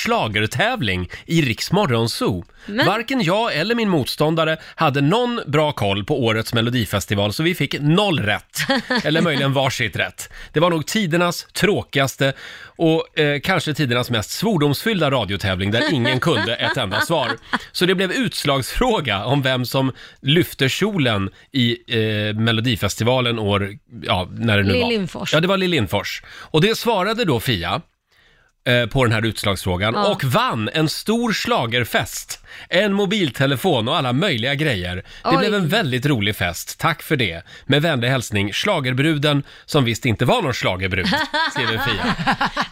schlagertävling i Riks Zoo. Men- Varken jag eller min motståndare hade någon bra koll på årets melodifestival så vi fick noll rätt. Eller möjligen varsitt rätt. Det var nog tidernas tråkigaste och eh, kanske tidernas mest svordomsfyllda radiotävling där ingen kunde ett enda svar. Så det blev utslagsfråga om vem som lyfte kjolen i eh, Melodifestivalen år, ja, när det nu Lill var. Lindfors. Ja, det var Lill Lindfors. Och det svarade då Fia eh, på den här utslagsfrågan Ja. och vann en stor slagerfest. En mobiltelefon och alla möjliga grejer. Det Oj. blev en väldigt rolig fest, tack för det. Med vänlig hälsning, slagerbruden som visst inte var någon slagerbrud, skriver Fia.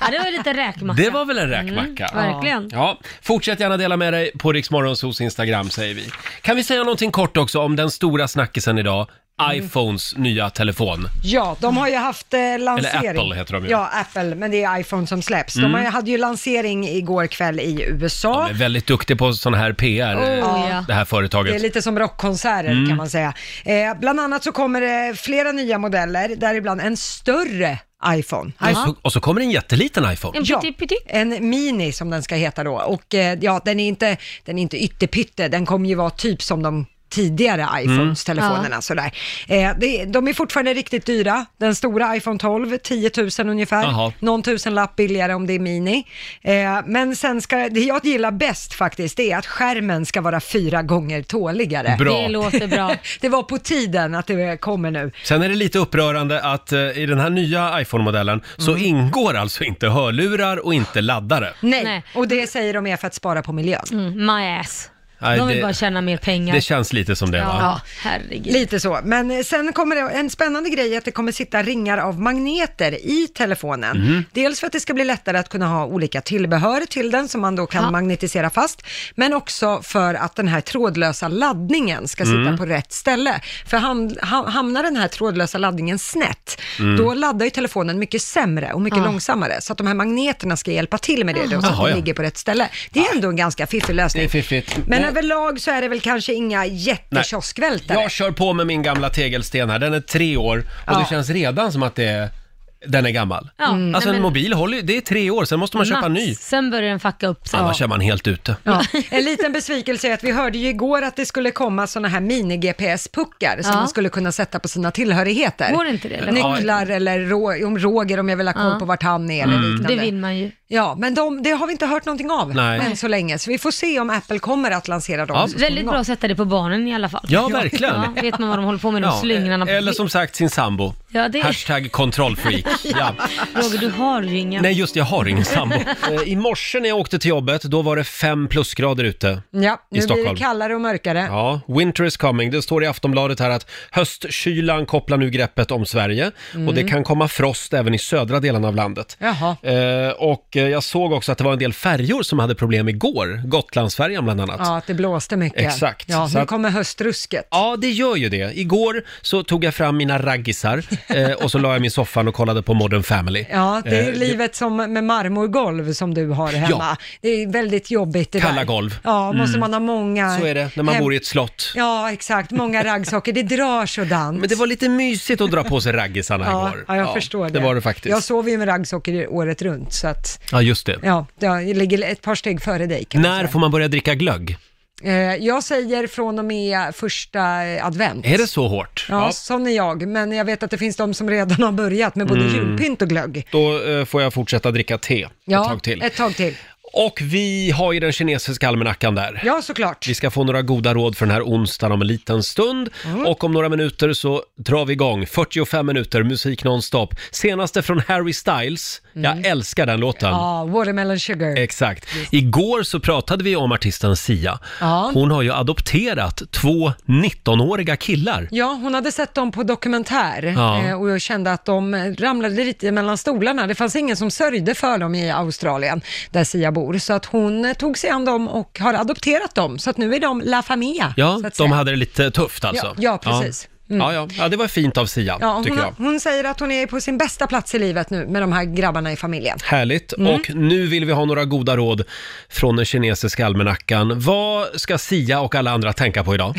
ja, det var ju lite räkmacka. Det var väl en räkmacka? Mm, verkligen. Ja, fortsätt gärna dela med dig på Riksmorgonsos Instagram säger vi. Kan vi säga någonting kort också om den stora snackisen idag? iPhones nya telefon. Ja, de har ju haft eh, lansering. Eller Apple heter de ju. Ja, Apple, men det är iPhone som släpps. De Mm. har, ju- hade ju lansering igår kväll i USA. De är väldigt duktig på sån här PR, eh, Oh, ja. det här Det är företaget. lite som rockkonserter Mm. kan man säga. Eh, bland annat så kommer det flera nya modeller, däribland en större iPhone. Och så, och så kommer det en jätteliten iPhone. Ja, en mini som den ska heta då. Och eh, ja, den är inte, den är inte ytterpytte, den kommer ju vara typ som de tidigare Mm. iPhones-telefonerna Ja. sådär. Eh, det, de är fortfarande riktigt dyra. Den stora iPhone 12, 10 000 ungefär. Jaha. Någon tusenlapp billigare om det är mini. Eh, men sen ska, det jag gillar bäst faktiskt, det är att skärmen ska vara fyra gånger tåligare. Bra. Det låter bra. det var på tiden att det kommer nu. Sen är det lite upprörande att eh, i den här nya iPhone-modellen så Mm. ingår alltså inte hörlurar och inte laddare. Nej. och det säger de är för att spara på miljön. Mm, my ass. Nej, de vill det- bara tjäna mer pengar. Det känns lite som det va? Ja, herregud. Lite så, men eh, sen kommer det, en spännande grej är att det kommer sitta ringar av magneter i telefonen. Mhm. Dels för att det ska bli lättare att kunna ha olika tillbehör till den som man då kan Ja. magnetisera fast, men också för att den här trådlösa laddningen ska sitta Mm. på rätt ställe. För ham, ha, hamnar den här trådlösa laddningen snett, Mm. då laddar ju telefonen mycket sämre och mycket Ja. långsammare, så att de här magneterna ska hjälpa till med det då, så att Jaha, den ja. ligger på rätt ställe. Det är ändå en ganska fiffig lösning. Det är fiffigt. Men Nej. överlag så är det väl kanske inga jättekioskvältare. Jag kör på med min gamla tegelsten här, den är tre år och Ja. det känns redan som att det är, den är gammal. Ja, Mm. Alltså nej, en men- mobil håller ju, det är tre år, sen måste man köpa en ny. Max, Sen börjar den fucka upp sig. Annars är man helt ute. Ja. En liten besvikelse är att vi hörde ju igår att det skulle komma sådana här mini-GPS-puckar som Ja. man skulle kunna sätta på sina tillhörigheter. Går inte det, eller? Nycklar eller rå, om Roger om jag vill ha koll Ja. på vart han är eller Det Mm. liknande. vill man ju. Ja, men de, det har vi inte hört någonting av Nej. än så länge, så vi får se om Apple kommer att lansera dem. Ja. så Väldigt småningom. bra att sätta det på barnen i alla fall. Ja, verkligen. Ja, vet man vad de håller på med, de Ja, slingrarna. Eller som sagt sin sambo. Ja, det- Hashtag kontrollfreak. ja. Roger, du har ju inga. Nej, just det, jag har ingen sambo. Eh, I morse när jag åkte till jobbet, då var det fem plusgrader ute. I Ja, nu blir det Stockholm. kallare och mörkare. Ja, winter is coming. Det står i Aftonbladet här att höstkylan kopplar nu greppet om Sverige Mm. och det kan komma frost även i södra delarna av landet. Jaha. Eh, och eh, jag såg också att det var en del färjor som hade problem igår, Gotlandsfärjan bland annat. Ja, att det blåste mycket. Exakt. Ja, Så nu att- kommer höstrusket. Ja, det gör ju det. Igår så tog jag fram mina raggisar eh, och så la jag mig i soffan och kollade på Modern Family. Ja, det är Eh, livet som med marmorgolv som du har hemma. Ja. Det är väldigt jobbigt det Kalla där. golv. Ja, måste Mm. man ha många. Så är det när man hem- bor i ett slott. Ja, exakt. Många raggsockor. Det drar sådant. Men det var lite mysigt att dra på sig raggisarna Ja, igår. ja, jag förstår det. Det var det faktiskt. Jag sover ju med raggsockor året runt, så att Ja, just det. ja, jag ligger ett par steg före dig. Kan När får man börja dricka glögg? Eh, Jag säger från och med första eh, advent. Är det så hårt? Ja, sån är jag. Men jag vet att det finns de som redan har börjat med både Mm. julpynt och glögg. Då eh, får jag fortsätta dricka te Ja, ett tag till. Ett tag till. Och vi har ju den kinesiska almanackan där. Ja, såklart. Vi ska få några goda råd för den här onsdagen om en liten stund. Mm. Och om några minuter så drar vi igång 45 minuter musik nonstop. Senaste från Harry Styles. Jag älskar den låten. Mm. Ja, watermelon Eh, sugar. Exakt. Igår så pratade vi om artisten Sia. Ja. Hon har ju adopterat två 19-åriga killar. Ja, hon hade sett dem på dokumentär Ja. eh, och jag kände att de eh, ramlade lite mellan stolarna. Det fanns ingen som sörjde för dem i Australien, där Sia bor. Så att hon eh, tog sig an dem och har adopterat dem. Så att nu är de La Familia. Ja, så att de säga. hade det lite tufft alltså. Ja, ja, precis. Mm. Ja. Ja, ja. ja, det var fint av Sia, Ja, hon, tycker har, jag. hon säger att hon är på sin bästa plats i livet nu med de här grabbarna i familjen. Härligt. Mm. Och nu vill vi ha några goda råd från den kinesiska almanackan. Vad ska Sia och alla andra tänka på idag?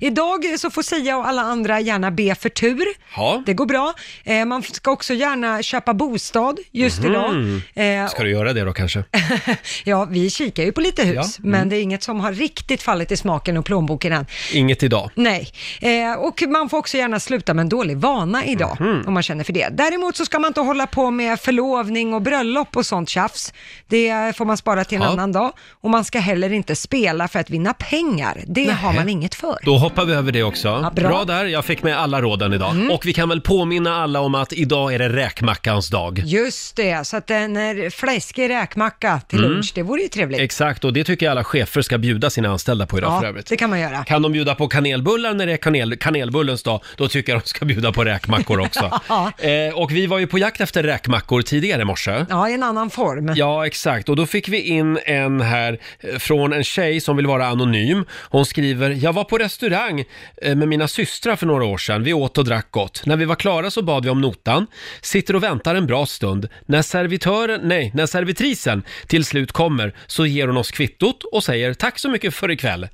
Idag så får Sia och alla andra gärna be för tur. Ja. Det går bra. Eh, man ska också gärna köpa bostad just idag. Mhm. Eh, Ska du göra det då kanske? Ja, vi kikar ju på lite hus, Ja, mm. men det är inget som har riktigt fallit i smaken och plånboken än. Inget idag. Nej, eh, och man får också gärna sluta med en dålig vana idag, Mhm. om man känner för det. Däremot så ska man inte hålla på med förlovning och bröllop och sånt tjafs. Det får man spara till en Ja. annan dag. Och man ska heller inte spela för att vinna pengar. Det har man inget för. Då hoppar vi över det också. bra. bra. Mm. där, jag fick med alla råden idag. Och vi kan väl påminna alla om att idag är det räkmackans dag. Just det, så att en eh, fläskig räkmacka till Mm. lunch, det vore ju trevligt. Exakt, och det tycker jag alla chefer ska bjuda sina anställda på idag för Ja, övrigt. det kan man göra. Kan de bjuda på kanelbullar när det är kanel, kanelbullens dag, då tycker jag de ska bjuda på räkmackor också. Ja. eh, och vi var ju på jakt efter räkmackor tidigare i morse. Ja, i en annan form. Ja, exakt. Och då fick vi in en här eh, från en tjej som vill vara anonym. Hon skriver, jag var på restaurang eh, med mina systrar för några år sedan. Vi åt och drack gott. När vi var klara så bad vi om notan. Sitter och väntar en bra stund. När servitören, nej, när servitrisen till slut kommer så ger hon oss kvittot och säger tack så mycket för ikväll.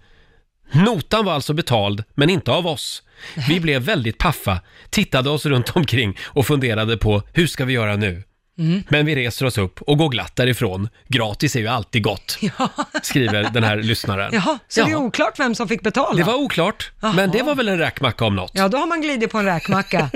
Notan var alltså betald, men inte av oss. Vi blev väldigt paffa, tittade oss runt omkring och funderade på hur ska vi göra nu? Men vi reser oss upp och går glatt därifrån. Gratis är ju alltid gott, skriver den här lyssnaren. Jaha, så det är Ja, oklart vem som fick betala? det var oklart, men det var väl en räkmacka om något. Ja, då har man glidit på en räkmacka.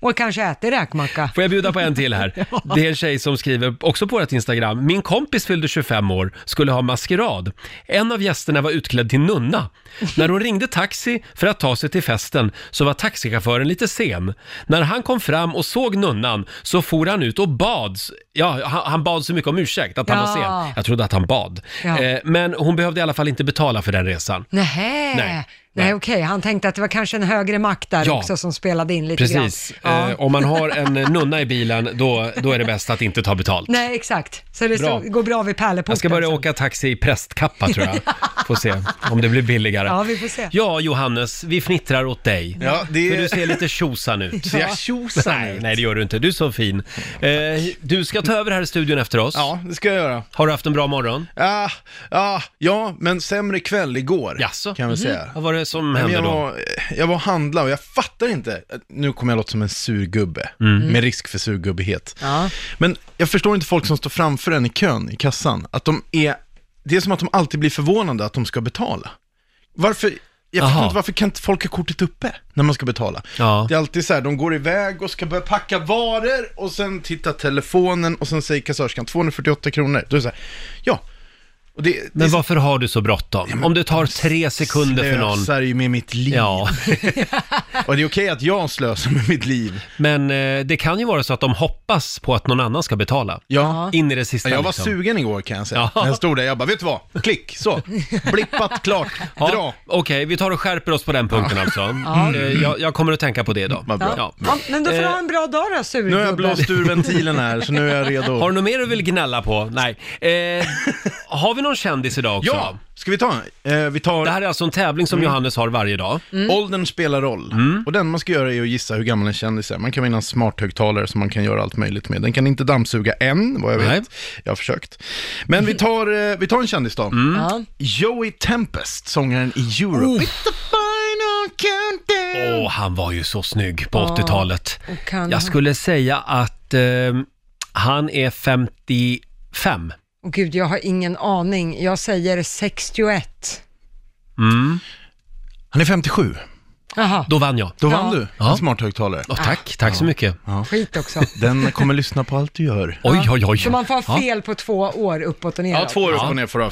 Och kanske ätit räkmacka. Får jag bjuda på en till här? Det är en tjej som skriver, också på vårt Instagram, min kompis fyllde 25 år, skulle ha maskerad. En av gästerna var utklädd till nunna. När hon ringde taxi för att ta sig till festen så var taxichauffören lite sen. När han kom fram och såg nunnan så for han ut och bad, ja, han- han bad så mycket om ursäkt att han Ja. var sen. Jag trodde att han bad. Ja. Eh, Men hon behövde i alla fall inte betala för den resan. Nähä. Nej, Nej, okej. Han tänkte att det var kanske en högre makt där Ja. också som spelade in lite Precis. grann. Ja. Eh, om man har en nunna i bilen, då, då är det bäst att inte ta betalt. Nej, exakt. Så det Bra. så, går bra vid pärleporten. Jag ska börja åka taxi i prästkappa tror jag. Får se om det blir billigare. Ja, vi får se. Ja, Johannes, vi fnittrar åt dig. Ja, det- För du ser lite tjosan ut. Ser jag tjosan nej, ut? Nej, det gör du inte. Du är så fin. Eh, du ska ta över här i studion efter oss. Ja, det ska jag göra. Har du haft en bra morgon? Ja, ja, ja men sämre kväll igår. Jaså? Kan vi Mhm. säga. Vad var det som Nej, men hände jag då? Var, jag var och handlade och jag fattar inte. Nu kommer jag låta som en surgubbe, Mm. med risk för surgubbighet. Ja. Men jag förstår inte folk som står framför en i kön i kassan, att de är, det är som att de alltid blir förvånade att de ska betala. Varför? Jag förstår Aha. inte varför kan inte folk ha kortet uppe när man ska betala? Ja. Det är alltid så här, de går iväg och ska börja packa varor och sen tittar telefonen och sen säger kassörskan 248 kronor. Då är det så här, ja. Och det, det Men varför har du så bråttom? Om det tar tre sekunder för någon... slösar ju med mitt liv. Ja. och det är okej att jag slösar med mitt liv. Men eh, det kan ju vara så att de hoppas på att någon annan ska betala. Ja. In i det sista jag var liksom. sugen igår kan jag säga. Ja. När jag stod där, jag bara, vet du vad? Klick, så. Blippat, klart, Ja, dra. Okej, vi tar och skärper oss på den punkten alltså. Ja. Eh, Jag, jag kommer att tänka på det då. Ja. Ja, men då får du Eh, ha en bra dag då, surgubbe. Nu har jag blåst ur ventilen här, så nu är jag redo. Har du något mer du vill gnälla på? Nej. Eh, har vi någon kändis idag också? Ja, ska vi ta en? vi tar... Det här Mm. är alltså en tävling som Mm. Johannes har varje dag. Åldern spelar roll. Mm. Och den man ska göra är att gissa hur gammal en kändis är. Man kan vinna en smarthögtalare som man kan göra allt möjligt med. Den kan inte dammsuga än, vad jag vet. Jag har försökt. Men vi tar, eh, vi tar en kändis då. Mm. Ja. Joey Tempest, sångaren i Europe. Oh. Åh, han var ju så snygg på Mm. Ja. Mm. 80-talet. Och kan- Jag skulle säga att eh, han är 55. Åh gud, jag har ingen aning. Jag säger 61. Mm. Han är 57. Jaha, Då vann jag. Då vann Ja. du en Ja. smarthögtalare. Åh, Ah. tack, tack så mycket. skit också. Den kommer lyssna på allt du gör. Oj, oj, oj. Så man får ha fel på två år uppåt och neråt.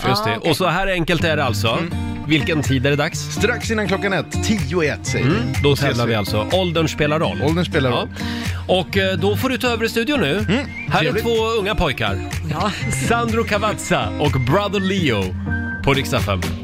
Just det. Och så här enkelt är det alltså. Mm. Vilken tid är det dags? Strax innan klockan ett, tio i ett säger Mm, vi. då ses tävlar vi alltså. Åldern spelar roll. Åldern spelar Ja. roll. Mm, Och eh, då får du ta över i studion nu. Här är trevligt. två unga pojkar. Ja. Sandro Cavazza och Brother Leo på Rix FM.